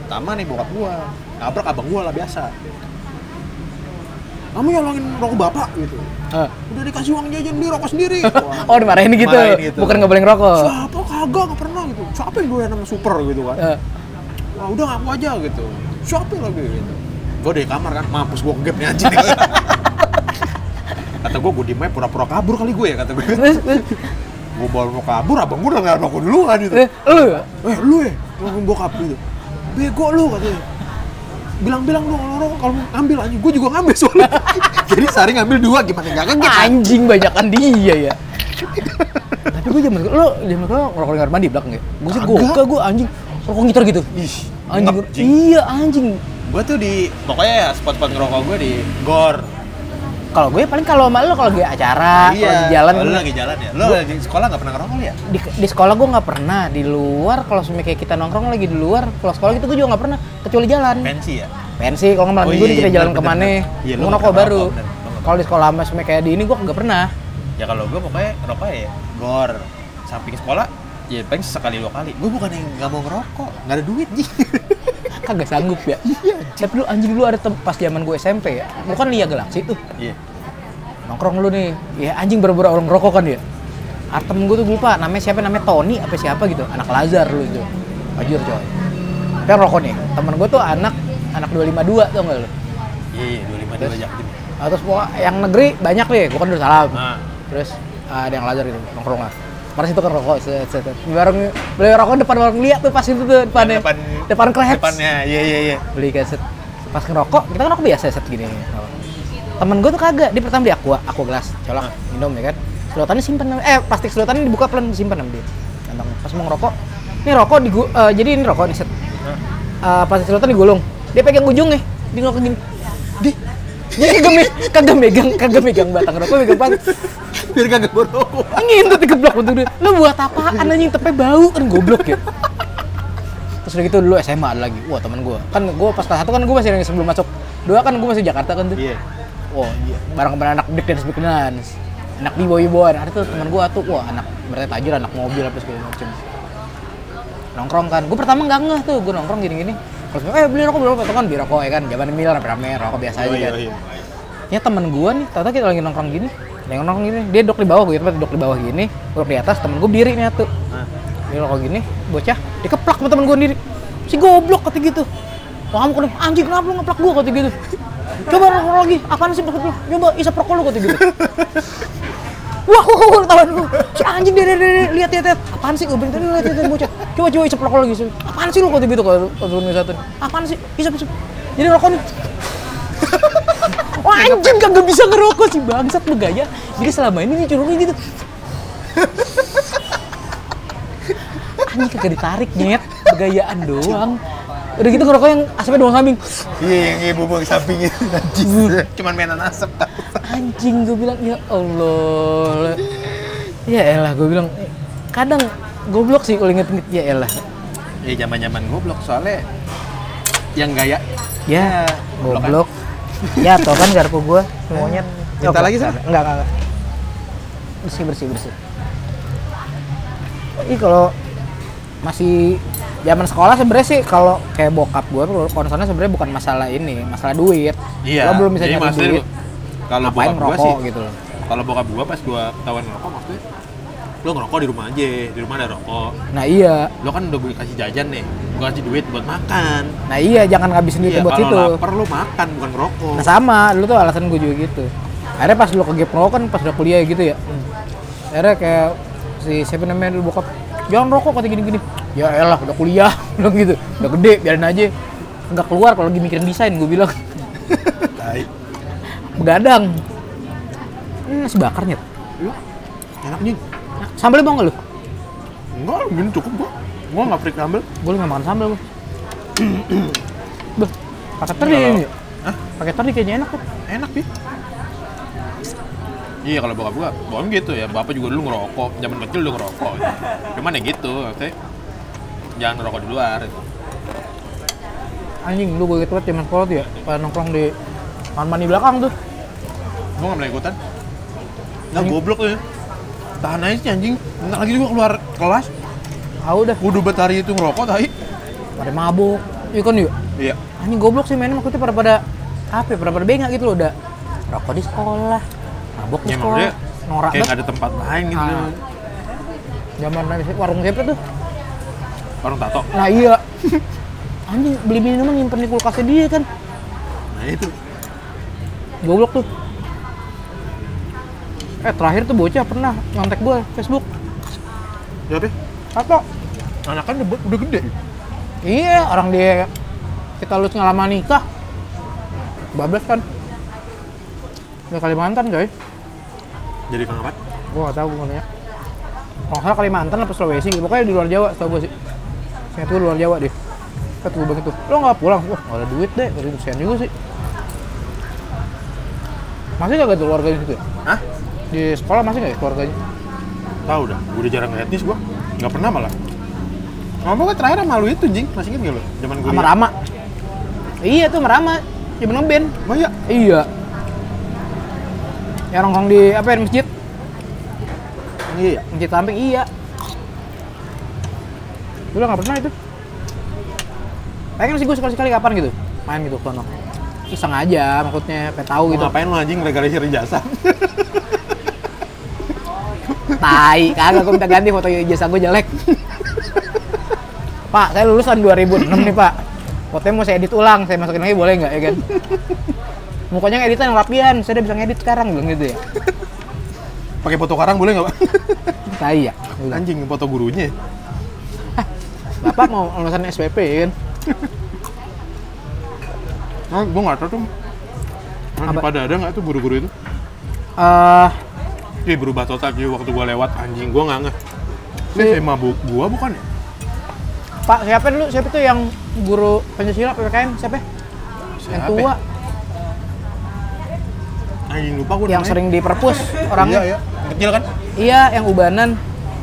S1: Pertama nih bokap gue. Nabrak abang gue lah biasa. Kamu nyolongin rokok bapak gitu.
S2: Eh,
S1: Udah dikasih uang jajan beli rokok sendiri.
S2: oh dimarahin gitu
S1: Marahin gitu.
S2: bukan nggak boleh ngerokok
S1: Siapa kagak nggak pernah gitu. Siapa yang doyan sama super gitu kan?
S2: Eh,
S1: wah udah ngaku aja gitu shopping lagi gitu gue dari kamar kan mampus gue kegep nih anjing kata gue gue diem aja pura-pura kabur kali gue ya kata gue
S2: terus terus
S1: gue baru mau kabur abang gue udah nggak aku duluan gitu
S2: terus, lu
S1: eh lu ya ngomong bokap gitu bego lu katanya bilang-bilang dong kalau orang kalau ngambil aja gue juga ngambil soalnya jadi sehari ngambil dua gimana nggak kegep anjing.
S2: anjing banyakan dia ya tapi gue zaman lu zaman sekolah ngerokok di kamar mandi belakang ya gue sih gue
S1: Kagak.
S2: enggak gue anjing rokok ngitar gitu
S1: Ih,
S2: anjing
S1: ngep, jing.
S2: iya anjing
S1: gue tuh di pokoknya ya spot-spot ngerokok gue di gor
S2: kalau gue paling kalau sama lu kalau lagi acara Ah, kalau di jalan
S1: Oh, lu
S2: gue-
S1: lagi jalan ya lu lagi sekolah nggak pernah ngerokok lu ya
S2: di, di sekolah gue nggak pernah di luar kalau semuanya kayak kita nongkrong lagi di luar kalau sekolah gitu gue juga nggak pernah kecuali jalan
S1: pensi ya
S2: pensi kalau nggak malam
S1: Oh,
S2: minggu
S1: iya,
S2: nih kita
S1: iya,
S2: jalan
S1: bener,
S2: kemana
S1: bener, bener. Iya, lu
S2: mau
S1: nggak pernah
S2: nongkrong baru
S1: nongkrong, bener, bener.
S2: kalau di sekolah sama semuanya kayak di ini gue nggak pernah
S1: ya kalau gue pokoknya rokok ya gor samping sekolah ya paling sekali dua kali gue bukan yang nggak mau ngerokok nggak ada duit ji
S2: kagak sanggup ya
S1: Iya.
S2: tapi lu anjing dulu ada tem- pas zaman gue SMP ya lu kan Lia Galaksi tuh
S1: iya
S2: nongkrong lu nih ya anjing berburu orang rokok kan ya Artem gue tuh gue lupa namanya siapa namanya Tony apa siapa gitu anak Lazar lu itu Anjir coy kita rokok nih temen gue tuh anak anak 252 tau gak lu
S1: iya iya dua lima dua jam
S2: Nah, terus pokok yang negeri banyak deh, gue kan dulu salam.
S1: nah
S2: Terus ah, ada yang lazar gitu, nongkrong lah. Kemarin situ kan rokok, set, set, set. Beli warung, beli rokok depan warung Lia tuh pas itu tuh depannya.
S1: depan
S2: depan Krebs.
S1: depannya iya iya iya
S2: Beli kan set. Pas ngerokok, kita kan rokok biasa set gini. Temen gue tuh kagak, dia pertama beli aqua, aqua gelas, colok, minum ya kan. Sedotannya simpen, eh plastik sedotannya dibuka pelan simpen sama dia. Kantong. Pas mau ngerokok, ini rokok di gu- eh, jadi ini rokok nih set. Eh, plastik sedotan digulung. Dia pegang ujungnya, dia ngerokok gini. Dia dia kagak me- kagak megang, kagak megang batang rokok, megang plastik.
S1: biar kagak merokok
S2: Ngintut di geblok bentuk dia. Lu buat apaan anjing tepe bau kan goblok ya. Terus udah gitu dulu SMA ada lagi. Wah, teman gua. Kan gua pas kelas 1 kan gua masih yang sebelum masuk. Dua kan gua masih Jakarta kan tuh.
S1: iya
S2: Wah, iya. barang barang anak break dance break dance. Anak di boy boyan. Ada tuh teman gua tuh, wah anak berarti tajir anak mobil apa segala macem. Nongkrong kan. Gua pertama nggak ngeh tuh, gua nongkrong gini-gini. Terus eh beli rokok, beli rokok, Tuh kan beli rokok ya kan. Zaman Miller rame-rame, rokok biasa
S1: Oh,
S2: aja
S1: iya,
S2: kan ya teman gua nih tata kita lagi nongkrong gini lagi nongkrong gini dia dok di bawah gue tempat dok di bawah gini gue di atas temen gue berdiri nih tuh
S1: Nah,
S2: dia nongkrong gini bocah dikeplak sama temen gue sendiri si goblok kata gitu wah kamu kenapa anjing kenapa lu ngeplak gua kata gitu coba nongkrong lagi apaan sih maksud lu coba isap rokok lu kata gitu wah wah wah tawan gue si anjing dia dia dia dia, lihat lihat lihat apaan sih gue bilang tadi lihat lihat lihat, bocah coba coba isap rokok lagi isap. apaan sih lu kata gitu kalau kalau satu apaan sih isap isap jadi rokok nih Wah anjing kagak bisa ngerokok sih bangsat lu gaya. Jadi selama ini dicurungin gitu. Anjing kagak ditarik nyet, gayaan doang. Udah gitu ngerokok yang asapnya doang kambing.
S1: iya yang ibu buang samping itu najis cuman mainan asap
S2: Anjing gue bilang ya Allah. Ya elah gue bilang eh, kadang goblok sih kalau inget-inget ya elah.
S1: ya zaman zaman goblok soalnya yang gaya
S2: Ya
S1: Goblok kan?
S2: goblok. Ya toh kan garpu gue semuanya.
S1: Minta lagi, Sar?
S2: Enggak, enggak, enggak. Bersih, bersih, bersih. Ini kalau masih zaman sekolah sebenarnya sih kalau kayak bokap gue concernnya sebenarnya bukan masalah ini, masalah duit.
S1: Iya.
S2: Lo belum bisa
S1: jadi
S2: nyari
S1: maksudnya
S2: duit.
S1: kalau
S2: Ngapain
S1: bokap gua
S2: ngerokok
S1: sih
S2: gitu loh.
S1: kalau bokap gua pas gua ketahuan ngerokok maksudnya lo ngerokok di rumah aja di rumah ada rokok
S2: nah iya
S1: lo kan udah gue kasih jajan nih gue kasih duit buat makan
S2: nah iya jangan ngabisin duit
S1: iya,
S2: buat
S1: kalau
S2: situ
S1: lapar lo makan bukan ngerokok
S2: Nah sama, dulu tuh alasan gue juga gitu. Akhirnya pas dulu ke Gap ngerokok kan pas udah kuliah gitu ya. Akhirnya kayak si siapa namanya dulu bokap, jangan rokok kata gini-gini. Ya elah udah kuliah, bilang gitu. Udah gede, biarin aja. Nggak keluar kalau lagi mikirin desain, gue bilang.
S1: Tai.
S2: Begadang. Hmm, nasi bakar nyet.
S1: Iya. enak nih
S2: Sambal mau nggak lu?
S1: enggak ini cukup gua gua nggak freak sambel
S2: Gue nggak makan sambal. gua. Beh, pakai teri
S1: Kalau-
S2: ini.
S1: Hah?
S2: Pakai teri kayaknya enak tuh.
S1: enak sih iya kalau bokap gua bokap gitu ya bapak juga dulu ngerokok zaman kecil udah ngerokok cuman ya gitu maksudnya jangan ngerokok di luar gitu.
S2: Anjing, dulu gue gitu banget zaman sekolah tuh ya. Pada nongkrong di kamar mandi belakang tuh.
S1: gua nggak pernah ikutan nah goblok tuh ya tahan aja sih anjing bentar lagi juga keluar kelas
S2: Ah udah,
S1: kudu batari itu ngerokok tai
S2: pada mabuk. Iya kan yuk?
S1: iya
S2: anjing goblok sih mainnya maksudnya pada pada apa ya, pada pada bengak gitu loh udah rokok di sekolah mabok di
S1: ya
S2: sekolah
S1: maksudnya
S2: norak
S1: kayak nggak
S2: banget
S1: ada tempat lain gitu
S2: Ah. zaman naik warung siapa tuh
S1: warung tato
S2: nah iya anjing beli minuman nyimpen di kulkasnya dia kan
S1: nah itu
S2: goblok tuh eh terakhir tuh bocah pernah nyontek gue Facebook
S1: ya tapi
S2: apa
S1: anak kan udah, udah gede
S2: iya orang dia kita lulus ngelama nikah 12 kan udah Kalimantan coy
S1: jadi kenapa
S2: gue gak tau gue nanya kalau nggak salah Kalimantan apa Sulawesi gitu pokoknya di luar Jawa setahu gue sih saya tuh luar Jawa deh kata gue banget tuh lo nggak pulang wah nggak ada duit deh dari kesian juga sih masih gak tuh keluarganya situ ya?
S1: Hah?
S2: di sekolah masih gak ya keluarganya
S1: Tahu dah, gue udah jarang etnis gua. Nggak pernah malah. Ngomong gue terakhir sama lu itu, Jing. Masih inget nggak lu? Zaman gue.
S2: sama Rama iya tuh sama Rama ya bener Ben
S1: Oh iya.
S2: iya ya nongkrong di apa ya di masjid
S1: Iya.
S2: masjid samping iya udah nggak pernah itu pengen sih gue sekali-sekali kapan gitu main gitu ke sono iseng aja maksudnya pengen tahu
S1: Lu
S2: gitu
S1: ngapain lu anjing gara-gara cari jasa?
S2: ya, tai kagak gue minta ganti foto ijazah gue jelek pak saya lulusan 2006 nih pak fotonya mau saya edit ulang saya masukin lagi boleh nggak ya kan mukanya ngeditan yang rapian saya udah bisa ngedit sekarang bilang gitu ya
S1: Pakai foto karang boleh nggak, Pak?
S2: tai ya Gua bilang,
S1: Anjing foto gurunya.
S2: bapak mau lulusan SPP ya kan
S1: Nah, gue nggak tahu tuh. Nah,
S2: Apa?
S1: pada ada nggak tuh guru-guru itu?
S2: Eh,
S1: Dia berubah total jadi waktu gue lewat anjing gue nggak ngeh. Ini
S2: Si-
S1: SMA bu gue bukan ya?
S2: Pak siapa dulu siapa tuh yang guru Pancasila PPKM siapa? yang
S1: Siapa ya?
S2: tua
S1: Anjing lupa gue
S2: yang sering ya? di perpus orangnya.
S1: Iya, iya. Kecil kan?
S2: Iya, yang ubanan.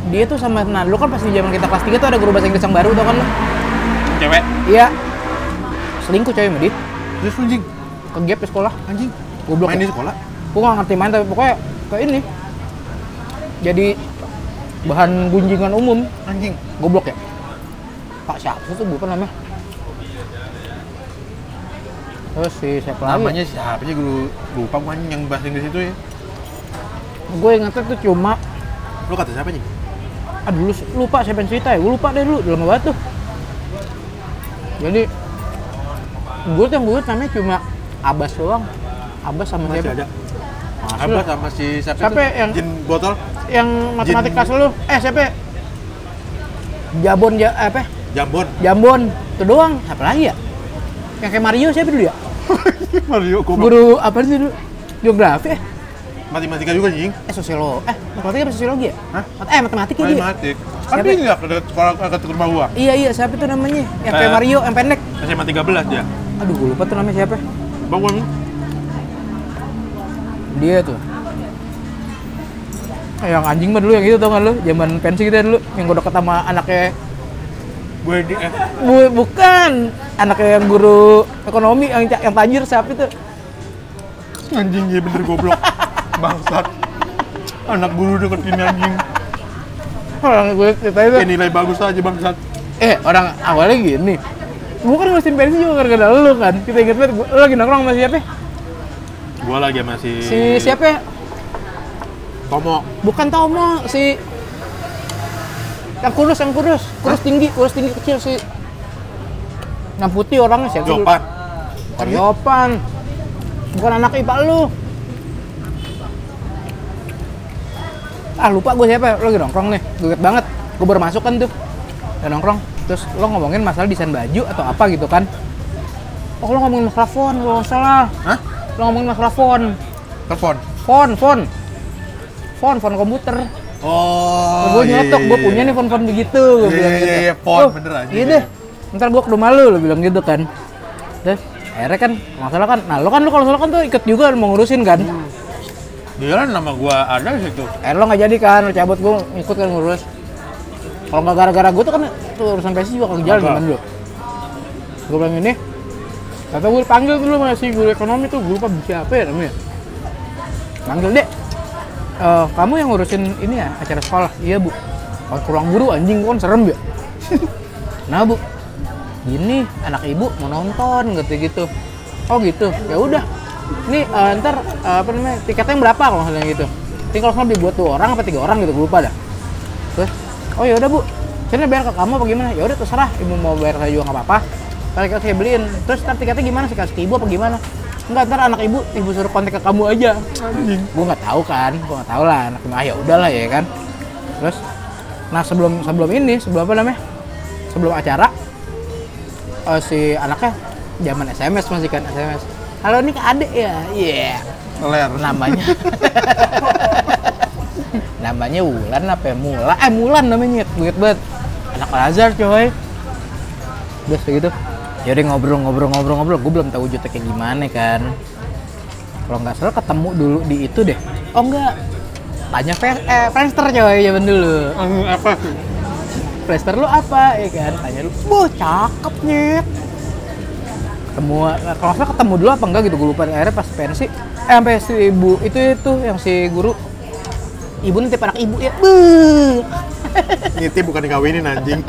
S2: Dia tuh sama nah lu kan pas di zaman kita kelas 3 tuh ada guru bahasa Inggris yang baru tau kan lu?
S1: Cewek.
S2: Iya. Selingkuh coy sama dia.
S1: Terus lu, Jing.
S2: Ke gap di sekolah.
S1: Anjing.
S2: Goblok.
S1: Main
S2: ya.
S1: di sekolah.
S2: Gua nggak ngerti main tapi pokoknya ke ini. Jadi bahan gunjingan umum
S1: Anjing.
S2: goblok ya. Pak siapa sih tuh bukan namanya? Terus si siapa lagi?
S1: Namanya ya, siapa sih guru lupa gue anjing yang bahasa Inggris itu ya?
S2: Gue ingetnya tuh cuma
S1: Lu kata siapa, Jing?
S2: aduh lu lupa siapa yang cerita ya gue lupa deh dulu udah lama banget tuh jadi gue tuh yang gue ingat namanya cuma Abbas doang Abbas sama
S1: Masih
S2: siapa
S1: ada.
S2: Masih
S1: Abah
S2: lah.
S1: sama si siapa,
S2: Siapa
S1: itu?
S2: yang-
S1: Jin botol?
S2: yang matematik
S1: Jin.
S2: kelas lu eh siapa ya? Jabon ja, eh, apa ya?
S1: Jambon.
S2: Jambon itu doang apa lagi ya yang kayak Mario siapa dulu ya
S1: Mario goblok.
S2: guru apa sih dulu geografi eh
S1: Matematika juga anjing.
S2: eh sosiolo eh matematika apa sosiologi ya
S1: Hah?
S2: Mat- eh matematik ya dia
S1: Matematik. Kan
S2: Siapa?
S1: dia enggak dekat sekolah dekat rumah gua.
S2: iya iya siapa itu namanya yang kayak
S1: Eh.
S2: Mario yang pendek
S1: SMA 13 dia.
S2: aduh gue lupa tuh namanya siapa
S1: Bangun.
S2: dia tuh Eh, yang anjing mah dulu yang itu tau gak lu zaman pensi kita dulu yang gue deket sama anaknya
S1: Gue di eh,
S2: Bu- bukan anaknya yang guru ekonomi yang ca- yang tajir siapa itu
S1: anjing dia bener goblok. Bangsat. Anak guru deketin anjing.
S2: orang gue cerita itu
S1: Eh nilai bagus aja bangsat.
S2: eh orang awalnya gini gue kan ngurusin pensi juga gara-gara lu kan kita inget banget gua- lu lagi nongkrong sama siapa
S1: Gua
S2: Iya.
S1: lagi masih
S2: si siapa
S1: Tomo.
S2: bukan Tomo si yang kurus yang kurus kurus tinggi kurus tinggi kecil sih yang putih orangnya sih
S1: Jopan.
S2: Yopan bukan anak IPA lu ah lupa gue siapa lo lagi nongkrong nih gue inget banget gue baru masuk kan tuh udah nongkrong terus lo ngomongin masalah desain baju atau apa gitu kan oh lo ngomongin masalah font lo salah
S1: Hah?
S2: lo ngomongin masalah font
S1: Telepon.
S2: font font font font komputer
S1: Oh.
S2: gue nyetok, gue punya nih font-font begitu.
S1: Iya,
S2: Gue bilang
S1: iya,
S2: gitu.
S1: iya, font,
S2: Oh,
S1: bener aja.
S2: Iya deh, ntar gue ke rumah lu, lu bilang gitu kan. Terus akhirnya kan, masalah kan, nah lo kan lu kalau salah kan tuh ikut juga mau ngurusin kan.
S1: Dia kan nama gua ada di situ.
S2: Akhirnya lo nggak jadi kan, lo cabut gue ikut kan ngurus. Kalau nggak gara-gara gue tuh kan tuh urusan PSI juga kagak jalan
S1: Apa?
S2: kan dulu. Gue bilang ini, kata gue panggil dulu masih guru ekonomi tuh, gue lupa siapa ya namanya. Panggil deh, Eh, kamu yang ngurusin ini ya acara sekolah? Iya bu. Kalau ke ruang guru anjing gue kan serem ya. nah bu, gini anak ibu mau nonton gitu-gitu. Oh gitu, ya udah. Nih eh, ntar eh, apa namanya tiketnya yang berapa kalau misalnya gitu? Tinggal kalau nggak dibuat dua orang apa tiga orang gitu gue lupa dah. Terus, oh ya udah bu, sini bayar ke kamu apa gimana? Ya udah terserah, ibu mau bayar saya juga nggak apa-apa. Ntar kita saya beliin. Terus ntar tiketnya gimana sih kasih ke ibu apa gimana? Enggak, ntar anak ibu ibu suruh kontak ke kamu aja. Gue nggak tahu kan, gue nggak tahu lah. Anak ah ya udahlah ya kan. Terus, nah sebelum sebelum ini sebelum apa namanya? Sebelum acara, eh, si anaknya zaman SMS masih kan SMS. Halo ini adek ya, iya
S1: Ler.
S2: namanya namanya Wulan apa ya? Mula eh Mulan namanya gue inget banget anak Al Azhar coy udah segitu jadi ngobrol ngobrol ngobrol ngobrol gue belum tahu wujudnya kayak gimana kan kalau nggak salah ketemu dulu di itu deh oh enggak tanya Fe- eh, Friendster coy zaman dulu
S1: Anu, apa?
S2: Friendster lu apa ya kan tanya lu wah cakep nyet ketemu kalau nggak salah ketemu dulu apa enggak gitu gue lupa akhirnya pas pensi eh sampai si ibu itu itu yang si guru ibu nanti anak ibu ya Beuh.
S1: Ngiti bukan dikawinin anjing.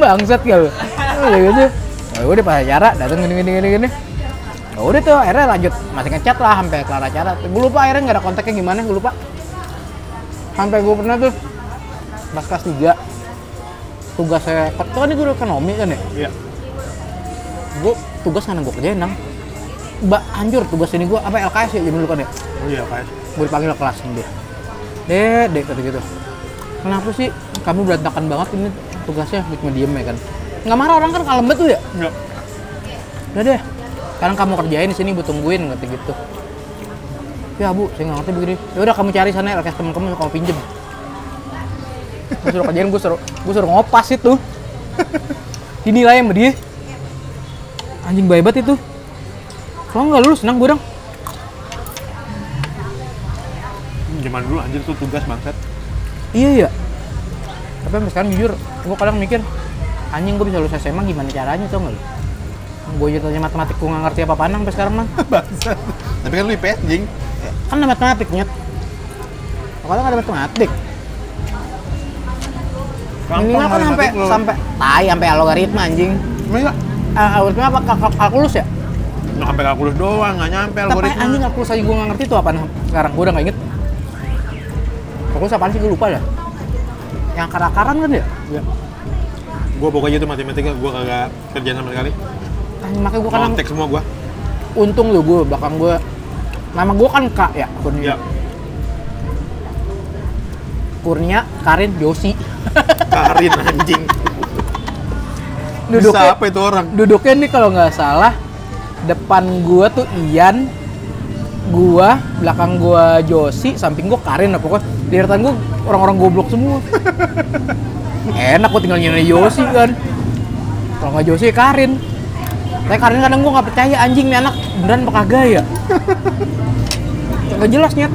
S2: bangsat ya lu Udah gitu ya udah pas acara datang gini gini gini gini ya udah tuh akhirnya lanjut masih ngechat lah sampai kelar acara gue lupa akhirnya nggak ada kontaknya gimana gue lupa sampai gue pernah tuh pas kelas 3 tugas saya itu kan ini guru ekonomi kan ya
S1: Iya.
S2: gue tugas karena gue kerjain nang mbak anjur tugas ini gue apa LKS ya jadi dulu kan ya
S1: Oh iya, Pak.
S2: gue dipanggil ke kelas sama dia deh deh kata gitu kenapa sih kamu berantakan banget ini tugasnya cuma diem ya kan nggak marah orang kan kalem betul ya
S1: Iya.
S2: udah deh sekarang kamu kerjain di sini bu tungguin kata gitu ya bu saya nggak ngerti begini ya udah kamu cari sana LKS temen kamu kamu pinjem gue suruh kerjain gue suruh gue suruh ngopas itu dinilai sama dia anjing babat itu kalau nggak lulus senang gue dong
S1: Zaman dulu anjir tuh tugas bangsat.
S2: Iya ya. Tapi sampai sekarang jujur, gue kadang mikir, anjing gue bisa lulus SMA gimana caranya tuh nggak? Gue aja tanya matematik gue nggak ngerti apa apa sampai sekarang mah.
S1: bangsat. Tapi kan lu IPS anjing.
S2: Kan ada matematik nyet. Kalau nggak ada matematik, minimal kan sampai sampai tai sampai logaritma anjing.
S1: enggak
S2: Eh, Logaritma apa Kal- kal- kalkulus ya?
S1: nggak sampai kalkulus doang, nggak nyampe
S2: Tapi
S1: algoritma.
S2: anjing kalkulus aja gue nggak ngerti tuh apaan sekarang gue udah nggak inget. Kalkulus apaan sih gue lupa dah. Yang akar-akaran kan ya?
S1: Iya. Gua pokoknya itu matematika gua kagak kerjaan sama sekali.
S2: Anjing, Ah, makanya gue kadang
S1: Kontek semua gua.
S2: untung lu gue belakang gue nama gue kan kak ya Kurnia
S1: Iya.
S2: Kurnia Karin Yosi
S1: Karin anjing. Bisa
S2: duduknya
S1: apa itu orang?
S2: duduknya nih kalau nggak salah depan gue tuh Ian gua belakang gua Josi samping gua Karin apa pokoknya di deretan gua orang-orang goblok semua enak gua tinggal nyari Josi kan kalau nggak Josi ya Karin tapi Karin kadang gua nggak percaya anjing nih anak beneran apa kagak ya nggak jelas nyet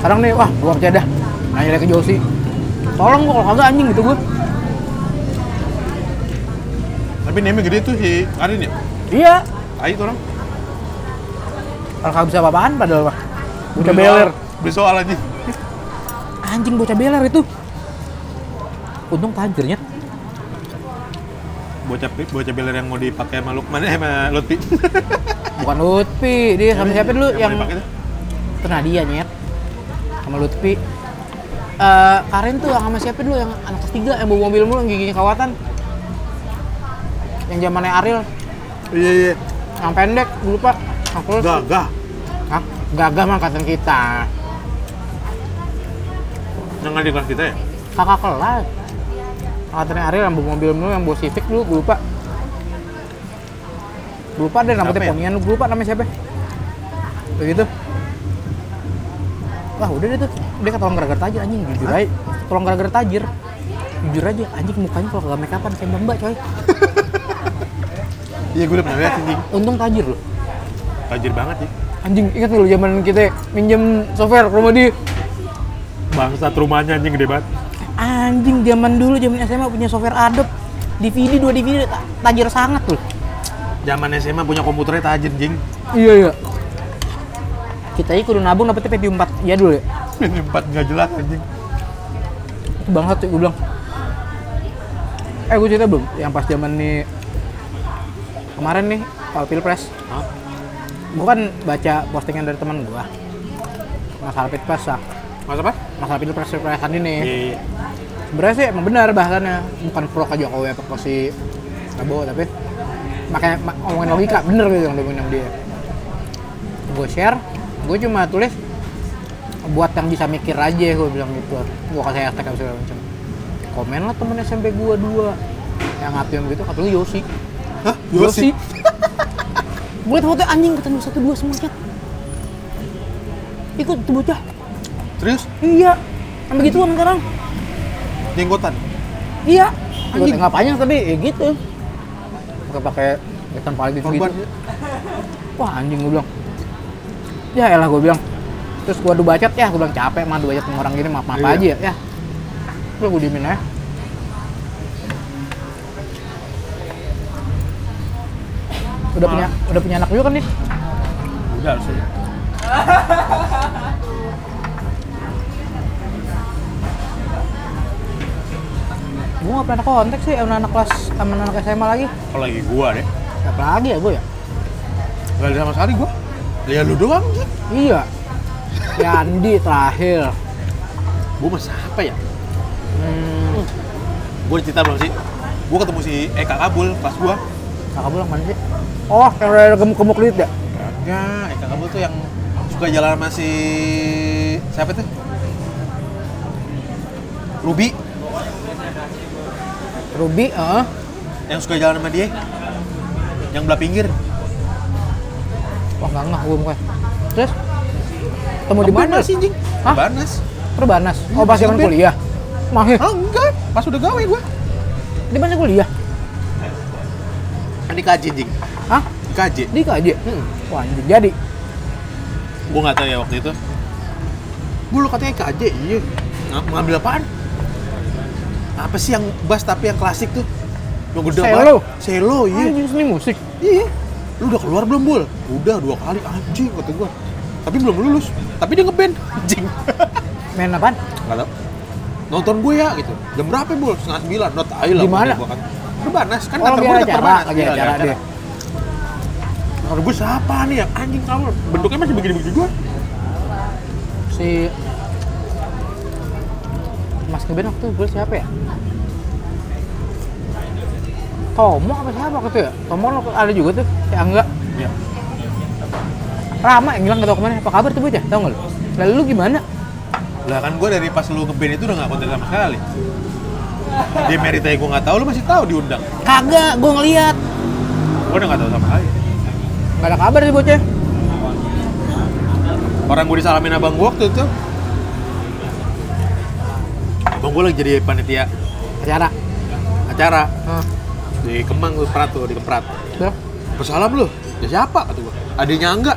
S2: kadang nih wah gua nggak percaya dah nanya lagi ke Josi tolong gua kalau kagak anjing gitu gua
S1: Tapi name gede tuh si Karin ya.
S2: iya
S1: Tai itu orang.
S2: kalau kagak bisa apa-apaan padahal mah udah beler
S1: Beli soal anjing.
S2: anjing bocah beler itu untung tajirnya
S1: Bocah bocah beler yang mau dipakai sama Lukman eh sama Lutfi.
S2: bukan Lutfi dia sama siapa dulu yang
S1: mau dipakai tuh?
S2: itu Nadia nyet sama Lutfi eh, Karen tuh yang sama siapa dulu yang anak ketiga yang bawa mobil mulu yang giginya kawatan yang zamannya Ariel
S1: Iya iya.
S2: yang pendek dulu pak aku
S1: Gagah.
S2: Hah? gagah mah angkatan kita
S1: Yang ada di kelas kita ya?
S2: kakak kelas angkatannya Ariel yang bawa mobil mulu yang bawa Civic dulu gue lupa Gue lupa
S1: Apa
S2: deh
S1: ya?
S2: rambutnya ponian gue lupa namanya siapa begitu wah udah deh tuh dia ketolong gara-gara tajir anjing jujur aja tolong gara-gara tajir jujur aja anjing mukanya kalau gak make upan kayak mbak mbak coy
S1: Iya gue udah pernah lihat anjing.
S2: untung tajir loh
S1: Tajir banget ya.
S2: anjing ingat nggak lu zaman kita minjem software ke rumah dia
S1: Bangsat rumahnya anjing gede banget.
S2: anjing zaman dulu zaman SMA punya software Adobe DVD dua DVD ta- tajir sangat loh
S1: Zaman SMA punya komputernya tajir jing.
S2: Iya iya. Kita ini kudu nabung dapetnya PPU 4 ya dulu ya.
S1: Nyempat nggak jelas anjing.
S2: Itu bangsat tuh gue bilang. Eh gue cerita belum yang pas zaman nih kemarin nih kalau pilpres
S1: Hah?
S2: gue kan baca postingan dari teman gue masalah pilpres lah
S1: Mas apa?
S2: masalah pilpres pilpresan ini
S1: Iya.
S2: sebenarnya sih emang benar bahasannya bukan pro ke Jokowi atau pro si Prabowo tapi makanya ma- ngomongin logika bener gitu yang dia bilang dia gue share gue cuma tulis buat yang bisa mikir aja gue bilang gitu gue kasih hashtag apa segala macam komen lah temen SMP gue dua yang ngapain gitu kata lu Yosi
S1: Hah?
S2: gue liat foto anjing ketemu satu dua semua chat ikut tuh bocah
S1: Serius?
S2: iya sampai gituan sekarang
S1: Jenggotan?
S2: Iya. Gue
S1: Anjing.
S2: tengah panjang tapi ya gitu. Gak pakai ikan palitif gitu.
S1: Korban?
S2: Wah anjing gue bilang. Ya elah gue bilang. Terus gue adu bacot ya, gue bilang capek mah adu bacot sama orang gini maaf maaf
S1: Iya.
S2: aja ya. ya. Udah gue diemin ya. aja. Udah punya udah punya anak juga kan nih?
S1: Udah sih.
S2: Gue gak pernah kontak sih sama anak kelas sama anak SMA lagi.
S1: Kalau lagi gua deh.
S2: Apa lagi ya gue ya?
S1: Gak ada sama sekali gua. Ya lu doang jing.
S2: Iya. Yandi terakhir.
S1: Gua masa apa ya?
S2: Hmm.
S1: Gua cerita belum sih? Gua ketemu si Eka Kabul pas gua.
S2: Kakak bilang mana sih? Oh, yang rada gemuk-gemuk duit ya?
S1: Ya, Eka Kabul tuh yang suka jalan sama si siapa tuh? Ruby
S2: Ruby, heeh.
S1: yang suka jalan sama dia. Yang belah pinggir.
S2: Wah, enggak enggak gue mukanya. Terus temu di mana?
S1: Banas sih, Jing.
S2: Hah?
S1: Banas.
S2: Perbanas. Oh, pas zaman
S1: Ruby.
S2: kuliah. Mah, ya.
S1: Ah, enggak. Pas udah gawe gua.
S2: di mana kuliah?
S1: Ini KJ, Jing.
S2: Hah?
S1: KJ.
S2: Di KJ? Hmm. Wah, anjing. jadi.
S1: Gua nggak tahu ya waktu itu. Gua lu katanya KJ. Iya. Ng- ngambil apaan? Apa sih yang bass tapi yang klasik tuh? Yang gede
S2: Selo.
S1: banget. Selo, iya.
S2: Anjing seni musik.
S1: Iya. Lu udah keluar belum, Bul? Udah dua kali anjing kata gua. Tapi belum lulus. Tapi dia ngeband anjing.
S2: Main apaan?
S1: Enggak tahu. Nonton gue ya gitu. Jam berapa, Bul? Setengah sembilan. Not ayo lah.
S2: Di mana?
S1: Gua kan. Perbanas kan
S2: Oh,
S1: gua
S2: lagi ada
S1: dekat
S2: acara,
S1: Perbanas.
S2: lagi
S1: Iya,
S2: ada acara dia.
S1: Kata gue siapa nih ya? Anjing kamu bentuknya masih begini-begini gue.
S2: Si Mas Keben waktu itu gue siapa ya? Tomo apa siapa waktu itu ya? Tomo lo ada juga tuh, si Angga.
S1: Iya.
S2: Rama yang bilang gak tau kemana, apa kabar tuh bocah? Tau gak lu? Lalu lu gimana?
S1: Lah kan gue dari pas lu ngeband itu udah gak konten sama sekali. Dia meritnya gue gak tahu, lu masih tahu diundang.
S2: Kagak, gue ngeliat
S1: Gue udah gak tahu sama sekali.
S2: Gak ada kabar sih bocah
S1: Orang gue disalamin abang gue waktu itu. Abang gue lagi jadi panitia
S2: Acara
S1: acara
S2: Hah,
S1: di Kemang tuh Prat tuh di Kemprat.
S2: terus?
S1: Bersalam lu. Ya siapa kata gua? Adanya Angga.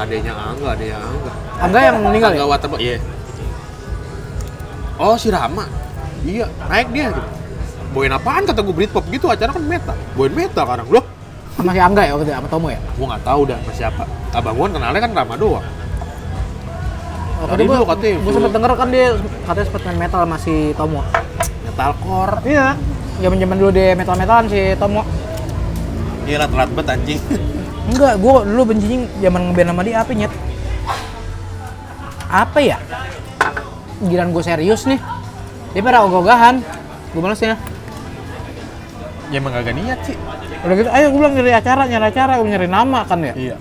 S1: Adanya Angga, adanya Angga.
S2: Angga yang meninggal ya?
S1: Angga Waterboy. Iya. Oh, si Rama. Iya, naik dia gitu. Boin apaan kata gue Britpop gitu acara kan meta. Boin meta sekarang loh.
S2: Sama si Angga ya waktu itu, sama Tomo ya?
S1: Gua nggak tahu dah sama siapa. Abang gua kenalnya kan Rama doang.
S2: Waktu
S1: Tadi
S2: itu
S1: lu katanya
S2: Gue
S1: full.
S2: sempet denger kan dia katanya sempet main metal sama si Tomo
S1: Metalcore.
S2: Iya zaman zaman dulu dia metal-metalan si Tomo
S1: Iya lah telat banget anjing.
S2: Enggak, gue dulu bencinya zaman ngeband sama dia apa nyet? Apa ya? giliran gue serius nih dia pada ogah-ogahan gue males ya
S1: ya emang kagak niat sih
S2: udah gitu ayo gue bilang nyari acara nyari acara gue nyari nama kan ya
S1: iya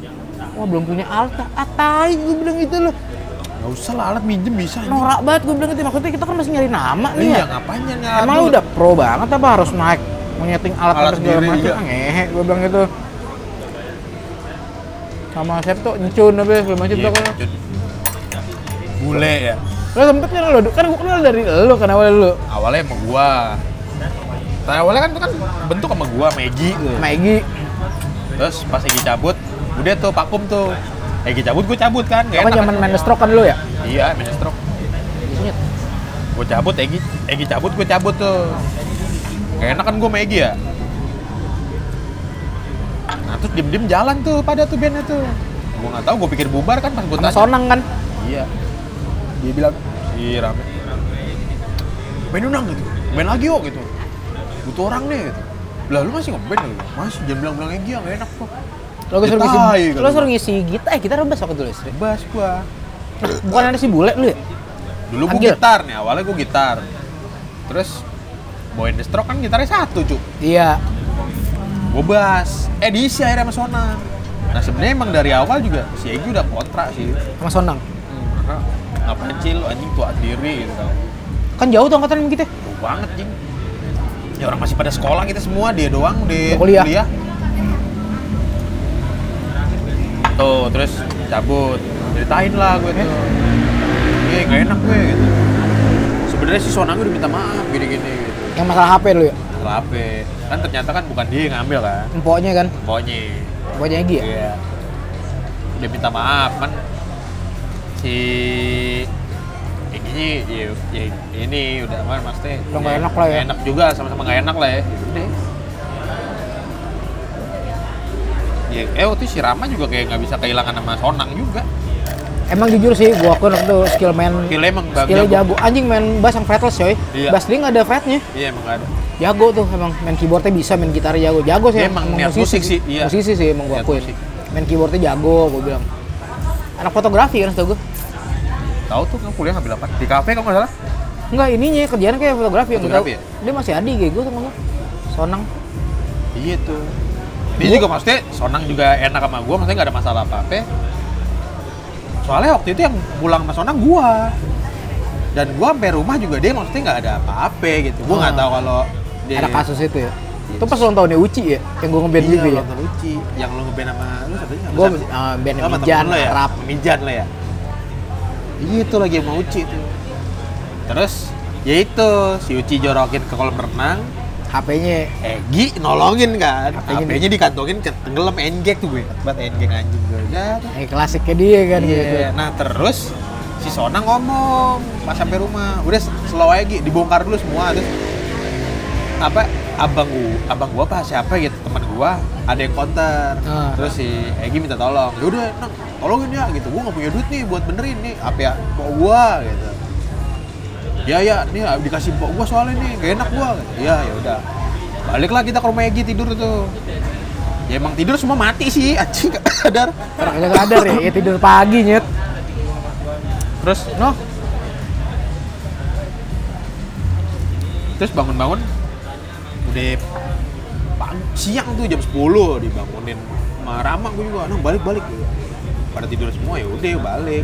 S2: wah belum punya alta atai gue bilang gitu loh
S1: nggak usah lah alat minjem bisa anjing.
S2: norak banget gue bilang gitu maksudnya kita kan masih nyari nama nih
S1: iya
S2: ya
S1: ngapain ya ngapain
S2: emang lu udah pro banget apa harus naik menyeting alat
S1: Alat
S2: alat segala
S1: sendiri,
S2: macam
S1: iya.
S2: ah, ngehe gue bilang gitu sama Septo encun apa segala macam
S1: Iya,
S2: tuh kan.
S1: lanjut. bule ya
S2: lo sempet kan lo kan gue kenal dari lo kan awalnya lo
S1: awalnya sama gua Tapi awalnya kan itu kan bentuk sama gua Megi tuh.
S2: sama Egi
S1: terus pas Egi cabut udah tuh pakum tuh Egi cabut gua cabut kan nggak
S2: apa
S1: enak Iya.
S2: zaman
S1: kan.
S2: main stroke kan lo ya
S1: iya main stroke
S2: Ingat.
S1: gua cabut Egi Egi cabut gua cabut tuh gak enak kan gua sama Egi ya nah terus diem-diem jalan tuh pada tuh bandnya tuh gua nggak tahu gua pikir bubar kan pas gua
S2: sama
S1: tanya
S2: Sonang kan
S1: Iya. Dia bilang, si rame. Main unang gitu. Main lagi yuk gitu. Butuh orang nih gitu. Lah lu masih ngeband ya? Gua, Masih jangan bilang-bilang lagi yang enak kok.
S2: lo gue suruh
S1: Gitai,
S2: ngisi
S1: kata
S2: lo
S1: gua.
S2: suruh ngisi gitar eh gitar bebas waktu itu istri
S1: Bebas gua.
S2: bukan ada si bule lo ya
S1: Dulu gua
S2: Anjir.
S1: gitar nih, awalnya gua gitar. Terus Boy and the Stroke kan gitarnya satu, Cuk.
S2: iya
S1: Gua bass. Eh diisi akhirnya sama Sonan. Nah sebenarnya emang dari awal juga si Egy udah kontrak sih.
S2: sama Sonang
S1: Karena Hmm, ngapain sih lu anjing tua diri gitu kan.
S2: kan jauh tuh angkatan sama kita
S1: Jauh banget, Jing. Ya orang masih pada sekolah kita semua, dia doang di
S2: Udah kuliah.
S1: Tuh, terus cabut. Ceritain lah gue tuh. Iya, gak enak gue gitu. Sebenarnya si Sonang udah minta maaf gini-gini gitu.
S2: yang masalah HP lo ya
S1: Masalah apa? Kan ternyata kan bukan dia yang ngambil kan.
S2: empoknya kan
S1: Pokoknya.
S2: empoknya Egi ya
S1: Iya. Udah minta maaf kan si Egy ya, ya ini udah aman Mas Teh.
S2: Udah nggak enak lah ya.
S1: Nggak Enak juga sama-sama nggak enak lah ya. Udah. Ya, eh waktu itu si Rama juga kayak nggak bisa kehilangan nama Sonang juga.
S2: Emang jujur sih, gua akuin waktu itu skill main
S1: Skillnya emang bab-
S2: skillnya
S1: jago.
S2: jago. Anjing main bass yang fretless coy.
S1: Iya.
S2: Bass dia nggak ada fretnya.
S1: Iya emang nggak ada.
S2: Jago tuh emang main keyboardnya bisa, main gitarnya jago. Jago sih
S1: Dia emang niat musik sih, iya.
S2: Musisi sih emang gua
S1: Niat
S2: akuin.
S1: musik.
S2: Main keyboardnya jago, gua bilang. Anak fotografi kan setahu gua.
S1: Tahu tuh kan kuliah ngambil apa? Di kafe kalau nggak salah.
S2: Enggak, ininya kerjaan kayak fotografi yang gua tahu.
S1: Fotografi ya?
S2: Dia masih ada IG gua sama gua. Sonang.
S1: Iya tuh. Dia juga maksudnya Sonang juga enak sama gua, maksudnya nggak ada masalah apa-apa. Soalnya waktu itu yang pulang sama Sonang gua. Dan gua sampai rumah juga dia maksudnya nggak ada apa-apa gitu. Gua nggak
S2: Ah.
S1: tahu kalau dia
S2: Ada kasus itu ya.
S1: Yes.
S2: Itu pas ulang tahunnya Uci ya, yang gua
S1: Iya,
S2: ngeband juga ya.
S1: nonton Uci, yang lo ngeband sama lu satunya sama
S2: Gua
S1: siapa sih?
S2: eh, band
S1: Sama temen
S2: Mijan,
S1: lo ya?
S2: Rap.
S1: Mijan lo ya. Iya itu lagi sama Uci itu. Terus ya itu si Uci jorokin ke kolam renang,
S2: HP-nya
S1: Egi nolongin kan,
S2: HP-nya
S1: HP-nya dikantongin ke tenggelam engek tuh gue, buat engek anjing gue. Ya,
S2: yang eh, klasiknya dia kan gitu.
S1: Iya. Nah terus si Sona ngomong pas sampai rumah, udah slow aja Gi, dibongkar dulu semua terus apa abang gua, abang gua apa siapa gitu teman gua ada yang counter
S2: Ah.
S1: terus si Egi minta tolong yaudah enak tolongin ya gitu gua nggak punya duit nih buat benerin nih apa ya pok gua gitu ya ya nih dikasih pok gua soalnya nih gak enak gua gitu. ya ya udah baliklah kita ke rumah Egi tidur tuh ya emang tidur semua mati sih anjing gak sadar
S2: Orang kagak sadar ya, ya tidur pagi nyet.
S1: terus
S2: Noh,
S1: Terus bangun-bangun udah pag- siang tuh jam 10 dibangunin sama Rama gue juga, nah balik-balik gitu. Pada tidur semua ya udah balik.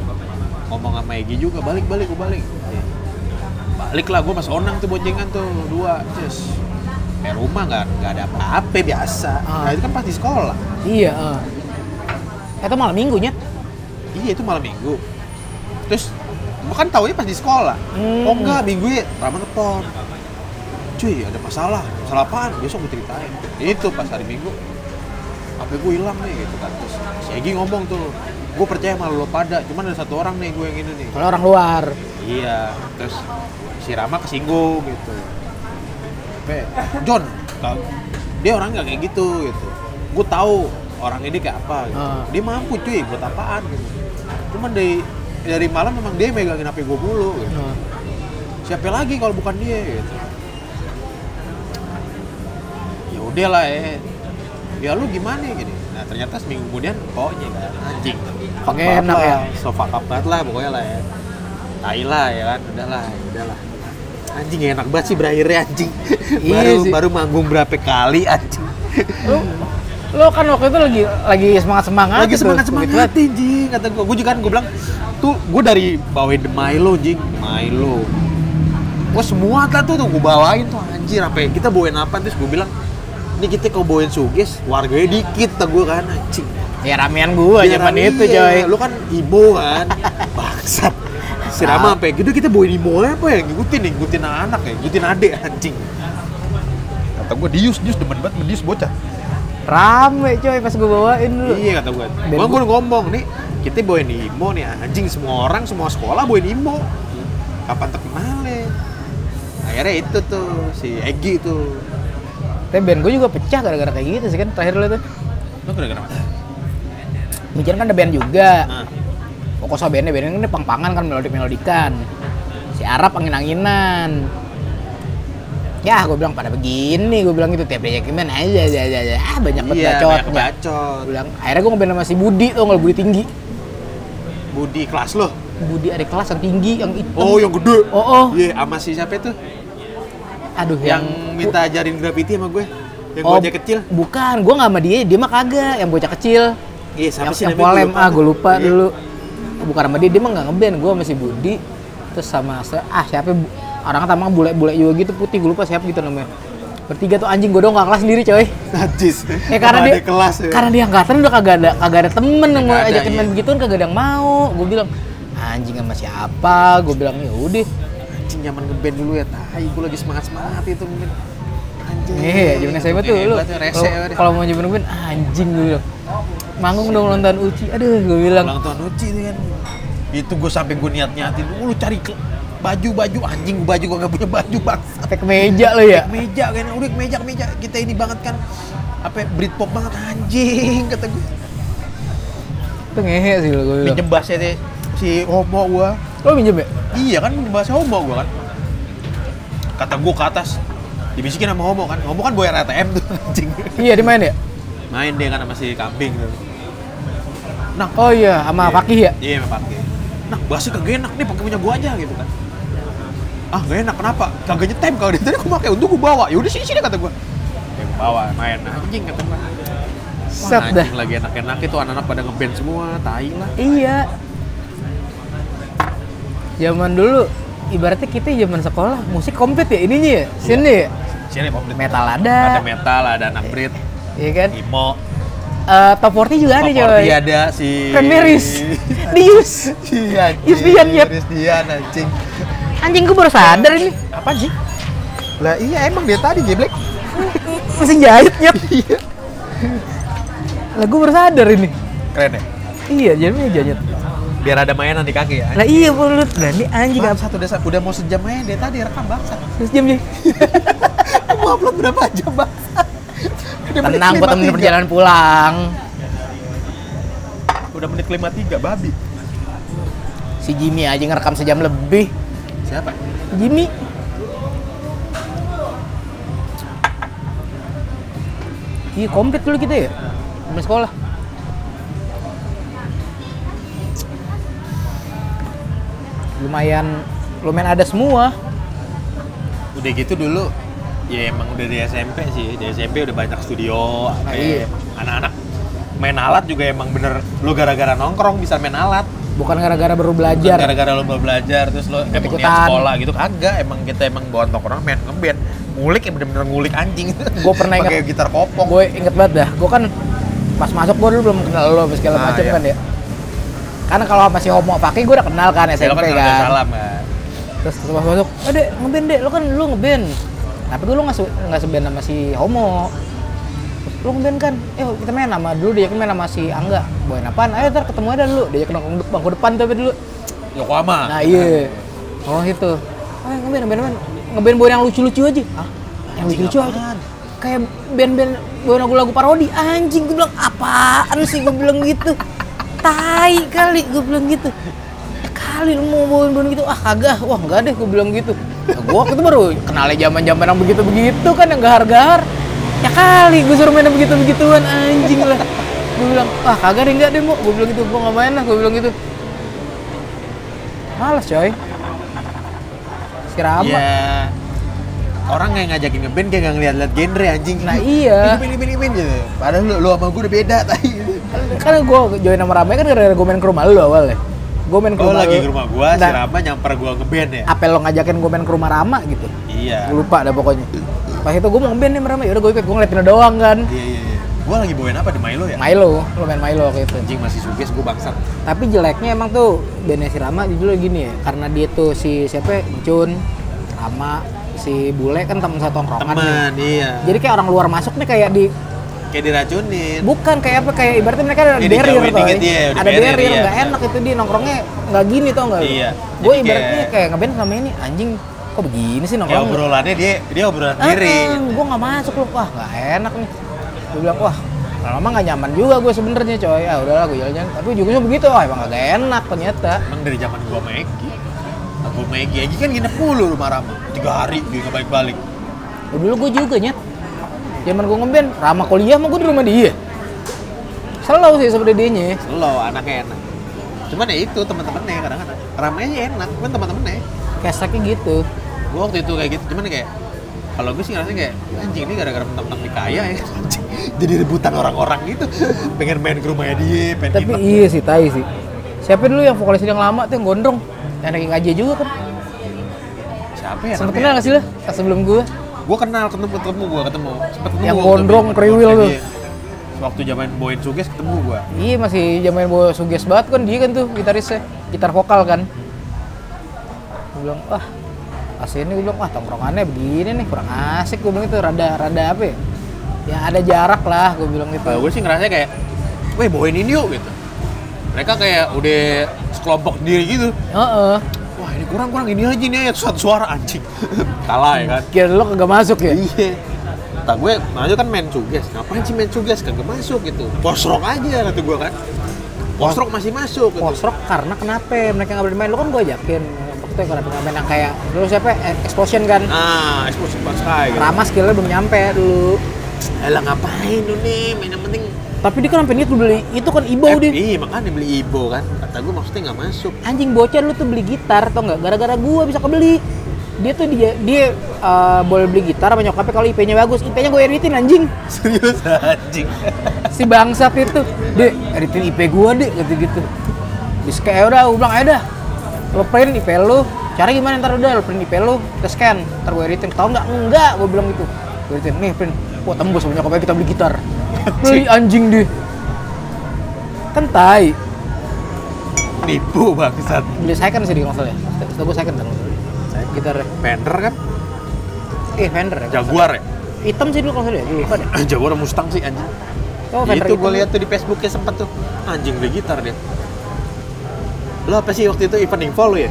S1: Ngomong sama Egi juga balik-balik gue balik. Ya. Balik lah gue mas Onang tuh boncengan tuh dua, cus. Eh rumah nggak nggak ada apa-apa biasa. Nah
S2: Ah.
S1: itu kan pas di sekolah.
S2: Iya. eh. Itu malam minggunya.
S1: Iya itu malam minggu. Terus gua kan taunya pas di sekolah.
S2: Hmm.
S1: Oh enggak minggu ya Rama telepon. Cuy ada masalah. Masalah apaan? Besok gue ceritain. Itu pas hari minggu. HP gue hilang nih gitu kan. Terus si Egi ngomong tuh. Gue percaya sama lo pada. Cuman ada satu orang nih gue yang ini nih.
S2: Kalau orang luar.
S1: Iya. Terus si Rama kesinggung gitu. Pe, John, kau- dia orang nggak kayak gitu gitu. Gue tahu orang ini kayak apa. Gitu.
S2: Ah.
S1: Dia mampu cuy buat apaan gitu. Cuman dari dari malam memang dia yang megangin HP gue mulu. Gitu.
S2: Nah,
S1: Siapa lagi kalau bukan dia gitu. Ya udah lah ya. Ya lu gimana gini? Nah ternyata seminggu kemudian pokoknya kan anjing.
S2: Pakai enak ya?
S1: Sofa banget lah pokoknya lah ya. tai lah ya kan udahlah ya udahlah anjing enak banget sih berakhirnya anjing
S2: Iya
S1: baru
S2: sih.
S1: baru manggung berapa kali anjing
S2: lu lu kan waktu itu lagi lagi gitu. semangat semangat
S1: lagi semangat
S2: kan?
S1: semangat anjing kata gue gue juga kan gue bilang tuh gue dari bawain The Milo jing Milo gue semua lah tuh tuh gue bawain tuh anjir apa ya? kita bawain apa terus gue bilang ini kita kau bawain suges warganya dikit tuh gue kan anjing
S2: ya ramean gua
S1: Biar
S2: zaman
S1: iya,
S2: itu coy
S1: Lu kan Ibo kan. Bangsat. Si Rama apa ya? Gitu kita bawain Ibo apa ya? Ngikutin nih, ngikutin anak ya, ngikutin adek anjing. Kata gua dius, dius demen banget medius bocah.
S2: rame coy pas gua bawain lu
S1: Iya kata gua.
S2: Dan
S1: Gua gua ngomong nih, kita bawain Imo nih anjing semua orang semua sekolah bawain Imo. Kapan tapi male. Akhirnya itu tuh si Egi tuh.
S2: tapi band gua juga pecah gara-gara kayak gitu sih kan terakhir lu tuh
S1: Lu kira-kira apa?
S2: Mijan kan ada band juga
S1: Nah,
S2: pokoknya bandnya bandnya kan pang-pangan kan melodik-melodikan si Arab angin-anginan ya gua bilang pada begini gua bilang gitu tiap diajakin band aja aja aja, aja ah banyak banget
S1: iya,
S2: bacot
S1: banyak bacot.
S2: Gua bilang akhirnya gua ngeband sama si Budi tuh nggak Budi tinggi
S1: Budi kelas lo.
S2: Budi ada kelas yang tinggi yang hitam
S1: Oh, yang gede.
S2: oh, oh.
S1: Iya, sama si siapa itu?
S2: aduh
S1: yang
S2: yang,
S1: minta ajarin graffiti sama gue yang
S2: Oh,
S1: gue aja kecil
S2: bukan gua nggak sama dia dia mah kagak yang bocah kecil
S1: iya siapa
S2: yang,
S1: sih
S2: yang
S1: namanya?
S2: polem ah gue lupa
S1: Iya.
S2: dulu bukan sama dia dia mah nggak ngeband gue masih Budi terus sama se- ah siapa Bu- orangnya tamang bule-bule juga gitu putih gue lupa siapa gitu namanya bertiga tuh anjing gue doang nggak kelas sendiri coy
S1: najis
S2: ya karena
S1: Sama
S2: dia
S1: adik kelas ya.
S2: karena dia angkatan udah kagak ada kagak ada temen yang mau
S1: Kagak ada,
S2: ajakin main
S1: iya.
S2: begituan kagak ada yang mau gue bilang anjing sama siapa gue bilang ya udah
S1: anjing nyaman ngeband dulu ya tai gue lagi semangat semangat itu mungkin anjing
S2: Iya, zaman SMA tuh lu.
S1: Hebat rese
S2: kalau-
S1: ya.
S2: Kalau mau zaman gue anjing gue bilang. Manggung dong ulang tahun Uci. Aduh, gue bilang.
S1: ulang tahun Uci itu kan itu gue sampai gue niat niatin lu cari ke- baju-baju anjing baju gue gak punya baju bangsa
S2: Sampai ke meja lo ya.
S1: meja kan udah ke meja ke meja kita ini banget kan apa ya, Britpop banget anjing kata gue
S2: Itu ngehe sih lo gue bilang.
S1: minjem bahasa si homo gue
S2: Lo minjem ya?
S1: Iya kan bahasa homo gua kan. Kata gua ke atas. Dibisikin sama homo kan. Homo kan bayar ATM tuh anjing.
S2: Iya, di main ya?
S1: Main dia kan sama si kambing tuh. Nah,
S2: Oh iya,
S1: Iya.
S2: sama Fakih ya?
S1: Iya, memang Fakih. Nah, bahasa kagak enak nih pakai punya gua aja gitu kan. Ah, gak enak kenapa? Kagak nyetem kalau dia tadi gua pakai untuk gua bawa. Ya udah sini sini kata gua. Ya gua bawa main anjing kata gua. Wah,
S2: Set dah.
S1: anjing lagi enak-enak itu anak-anak pada ngeband semua, tai lah.
S2: Iya. Zaman dulu ibaratnya kita zaman sekolah musik komplit ya ininya ya, sini ya.
S1: Sini pop Brit.
S2: Metal ada.
S1: Iya. Ada metal, Iya. ada anak Brit,
S2: Iya kan?
S1: emo,
S2: Eh, top 40 juga ada
S1: Top
S2: coy.
S1: 40 ada si
S2: Premieris. Dius.
S1: Iya.
S2: Isdian, Yap.
S1: Isdian anjing.
S2: Anjing gue baru sadar ini.
S1: Apa sih? Lah iya emang dia tadi geblek.
S2: Mesin jahit nyet.
S1: Iya.
S2: Lah gue baru sadar ini.
S1: Keren ya.
S2: Iya, jamnya jahit.
S1: Biar ada mainan di kaki ya.
S2: Lah iya mulut. Lah ini anjing apa?
S1: satu desa Iya, udah mau sejam aja dia tadi rekam bangsa.
S2: Terus jam sih.
S1: mau upload berapa jam bangsa? Udah menit
S2: Tenang buat
S1: kelima
S2: temen
S1: tiga.
S2: perjalanan pulang.
S1: Udah menit kelima tiga babi.
S2: Si Jimmy aja ngerekam sejam lebih.
S1: Siapa?
S2: Jimmy Iya komplit dulu kita ya Sampai sekolah Lumayan Lumayan ada semua
S1: Udah gitu dulu ya emang udah di SMP sih di SMP udah banyak studio apa
S2: iya.
S1: ya, anak-anak main alat juga emang bener lu gara-gara nongkrong bisa main alat
S2: Bukan gara-gara baru
S1: Bukan
S2: belajar
S1: gara-gara lo belum belajar terus lo emang niat
S2: Ikut-ikutan.
S1: sekolah gitu kagak emang kita emang bawa orang main ngeband ngulik ya bener-bener ngulik anjing
S2: Gua pernah ingat-
S1: pakai gitar kopong
S2: Oh, Gue inget banget dah Gue kan pas masuk gue dulu belum kenal lo apa segala
S1: Ah,
S2: macem
S1: iya.
S2: kan ya Karena kalau masih homo pakai gue udah kenal kan
S1: Saya
S2: SMP
S1: kan
S2: kan,
S1: ada salam kan
S2: terus pas masuk eh dek ngeband dek lo kan lo ngeband tapi gue lo nggak se- nggak seband sama si homo Terus, lo ngeband kan eh kita main nama dulu dia kan main sama si angga boyan apaan ayo ntar ketemu aja dulu dia nongkrong de- bangku depan tapi dulu
S1: Yokohama
S2: nah iya orang itu eh ngeband ngeband ngeband ngeband boyan yang lucu-lucu aja Hah? yang
S1: Anjing,
S2: lucu-lucu aja
S1: apaan?
S2: kayak band-band boyan lagu-lagu parodi anjing gue bilang apaan sih gue bilang gitu tai kali gue bilang gitu kali lu mau bawain bawain gitu ah kagak wah enggak deh gue bilang gitu nah, gue waktu itu baru kenalnya zaman zaman yang begitu begitu kan yang gahar gahar ya kali gue suruh main begitu begituan anjing lah gue bilang ah kagak deh enggak deh mau gue bilang gitu gue nggak main lah gue bilang gitu malas coy si Rama.
S1: Iya. Orang kayak ngajakin ngeband kayak nggak ngeliat-liat genre anjing.
S2: Nah, iya.
S1: Pilih pilih pilih gitu. Padahal lu, lu sama gue udah beda tadi.
S2: Kan gue join sama Rama kan gara-gara gue main ke rumah lu awalnya. Gue main ke
S1: Gue
S2: rumah
S1: Oh, lagi
S2: lu.
S1: ke rumah gue, si
S2: Nah,
S1: Rama nyamper gue ngeband ya.
S2: Apa lo ngajakin gue main ke rumah Rama gitu?
S1: Iya.
S2: Gua lupa dah pokoknya. Pas itu gue mau band nih sama Rama, yaudah gue ikut, gue ngeliatin lo doang kan.
S1: Iya iya iya. Gue lagi bawain apa di Milo ya?
S2: Milo, lo main Milo waktu itu.
S1: Anjing masih suges gue bangsat.
S2: Tapi jeleknya emang tuh bandnya si Rama judulnya gini ya, karena dia tuh si siapa ya, Jun, Rama, si Bule kan teman satu tongkrongan nih.
S1: Temen iya.
S2: Jadi kayak orang luar masuk nih kayak di
S1: Kayak diracunin.
S2: bukan kayak apa kayak ibaratnya mereka ada
S1: Iya,
S2: barrier
S1: dijauhin
S2: tuh.
S1: dikit, iya, udah
S2: ada
S1: barrier,
S2: barrier
S1: iya.
S2: nggak enak itu di nongkrongnya nggak gini tau nggak?
S1: Iya,
S2: Gue
S1: jadi
S2: ibaratnya
S1: kayak-
S2: kayak, ngeband sama ini anjing kok begini sih
S1: Kayak
S2: nongkrong.
S1: obrolannya dia dia obrolan sendiri.
S2: gue nggak masuk loh, wah nggak enak nih. Gue bilang wah lama nggak nyaman juga gue sebenernya coy ya udahlah gue jalan-jalan tapi juga begitu wah emang gak enak ternyata
S1: Emang dari zaman gua Megi. Aku Megi, Egi kan nginep mulu rumah Rama. Tiga hari dia nggak balik-balik.
S2: Ya dulu gue juga nyet. Zaman gue ngeband, Rama kuliah mah gue di rumah dia. Selalu sih sebenernya dia nya.
S1: Lo anaknya enak. Cuman ya itu teman-temannya kadang-kadang. Ramanya enak, cuman teman-temannya.
S2: Keseknya gitu.
S1: Gua waktu itu kayak gitu, cuman kayak kalau gue sih ngerasa kayak anjing ini gara-gara mentang-mentang di kaya ya anjing. jadi rebutan orang-orang gitu pengen main ke rumahnya dia pengen
S2: Tapi
S1: nginep.
S2: iya sih, tai sih. Siapa dulu yang vokalis yang lama tuh yang gondrong? Anak yang aja juga kan.
S1: siapa ya
S2: Sempet
S1: namanya?
S2: kenal gak sih lo? Iya, Pas Sebelum gue.
S1: Gue kenal ketemu ketemu gue ketemu. Sempet ketemu
S2: Yang
S1: gua ketemu.
S2: gondrong, kriwil
S1: Iya.
S2: tuh.
S1: Waktu zaman Boyin Suges ketemu gue.
S2: Iya masih zaman bawa suges banget kan dia kan tuh gitarisnya, gitar vokal kan. Gue bilang, wah aslinya gue bilang, wah tongkrongannya begini nih kurang asik gue bilang itu rada rada apa ya? Ya ada jarak lah gue bilang gitu.
S1: Kalau gue sih ngerasa kayak, weh Boyin ini yuk gitu. Mereka kayak udah sekelompok diri gitu.
S2: Heeh.
S1: Wah ini kurang kurang ini aja nih ya satu suara anjing. Kalah ya kan.
S2: Kira lo kagak masuk ya?
S1: Iya. Tak gue, makanya kan main suges. Ngapain sih main suges? Kagak masuk gitu. Post rock aja kata gue kan. Post rock masih masuk. Gitu.
S2: Post rock karena kenapa? Mereka nggak bermain. Lo kan gue ajakin waktu itu kenapa nggak main yang kayak dulu siapa? Eh, Explosion kan?
S1: Ah, explosive pas kayak gitu.
S2: Rama skillnya belum nyampe dulu.
S1: Elah ngapain lu nih? Main yang penting
S2: Tapi dia kan sampai niat beli itu kan ibau
S1: FB,
S2: dia.
S1: makanya beli Ibo kan. Kata gue maksudnya nggak masuk.
S2: anjing bocah lu tuh beli gitar tau nggak gara-gara gua bisa kebeli dia tuh dia dia eh, boleh beli gitar sama nyokapnya kalau IP-nya bagus IP-nya gue editin anjing
S1: Serius anjing.
S2: si bangsat itu dek editin IP gua dek gitu gitu terus kayak "Ya udah gue bilang ayo dah lo print IP lu cara gimana ntar udah lo print IP lu kita scan ntar gue editin tau nggak enggak gue bilang gitu gue editin nih print wah tembus sama nyokapnya kita beli gitar beli anjing deh kan tai
S1: Nipu bangsat.
S2: beli second sih di konsol ya setelah gue second kan gitar
S1: Fender kan?
S2: eh Fender ya
S1: Jaguar ya?
S2: hitam sih dulu konsol ya gue lupa deh
S1: Jaguar Mustang sih anjing.
S2: oh Fender
S1: itu
S2: hitam.
S1: gue lihat tuh di Facebooknya sempet tuh anjing beli gitar dia. Lo apa sih waktu itu evening fall lu ya?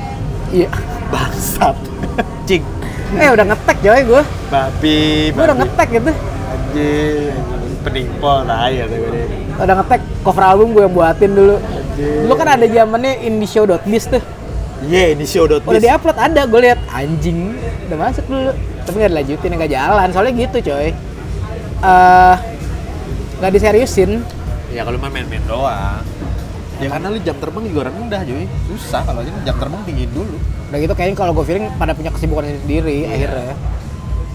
S2: iya
S1: Bangsat. Cing.
S2: eh udah ngetek coy gue
S1: Babi,
S2: gue udah
S1: babi.
S2: ngetek gitu
S1: Anjing. Evening fall nah ya tuh gue.
S2: udah ngetek cover album gue yang buatin dulu
S1: Anjing.
S2: dulu kan ada zamannya indieshow.biz tuh
S1: Iya, ini show dot
S2: udah diupload ada gue lihat anjing udah masuk dulu tapi nggak dilanjutin nggak jalan soalnya gitu coy eh nggak diseriusin
S1: Ya kalau main main doang. Ya karena lu jam terbang juga rendah, cuy. Susah kalau aja jam terbang tinggi dulu.
S2: udah gitu kayaknya kalau gue feeling pada punya kesibukan sendiri
S1: Iya.
S2: akhirnya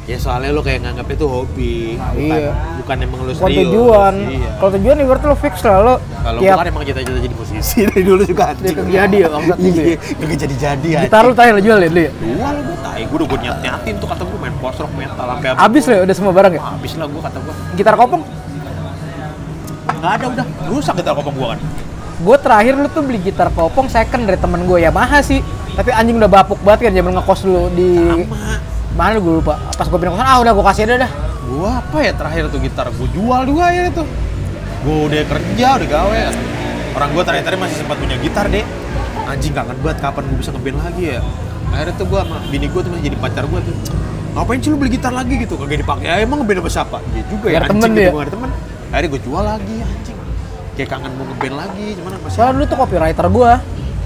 S1: Ya soalnya lu kayak nganggap itu hobi,
S2: Nah,
S1: bukan,
S2: iya.
S1: bukan emang lu
S2: bukan
S1: serius.
S2: tujuan
S1: Iya.
S2: kalau tujuan ibaratnya lo fix lah lo
S1: Kalau
S2: tiap
S1: gua kan emang cita-cita jadi musisi dari dulu juga anjing.
S2: kagak jadi ya, bangsat gitu ya?
S1: Iya, kagak jadi-jadi anjing.
S2: gitar lo tanya lo jual ya dulu ya
S1: Jual gua tai, gua udah gua niat-niatin tuh kata gua main post rock metal sampai apa.
S2: Abis lah ya, udah semua barang ya?
S1: Habis lah gua kata gua.
S2: Gitar kopong?
S1: Enggak ada udah, rusak gitar kopong gua kan.
S2: Gue terakhir lu tuh beli gitar kopong second dari temen gue Yamaha sih Tapi anjing udah bapuk banget kan zaman ngekos dulu di...
S1: Sama.
S2: Mana gue lupa, pas gue pindah kosan, ah udah gue kasih aja dah
S1: Gua apa ya terakhir tuh gitar gua jual juga ya itu. Gua udah kerja, udah gawe. Orang gua terakhir-terakhir masih sempat punya gitar, Dek. Anjing kangen banget kapan gua bisa ngeband lagi ya. Akhirnya tuh gua sama bini gua tuh masih jadi pacar gua tuh. Ngapain sih lu beli gitar lagi gitu? Kagak dipakai. Ya, emang ngeband sama siapa? Iya juga ya,
S2: Gak ada
S1: anjing
S2: temen
S1: gitu,
S2: ya?
S1: gak ada temen. Akhirnya gua jual lagi anjing. Kayak kangen mau ngeband lagi, cuman apa sih?
S2: Soalnya dulu tuh copywriter gue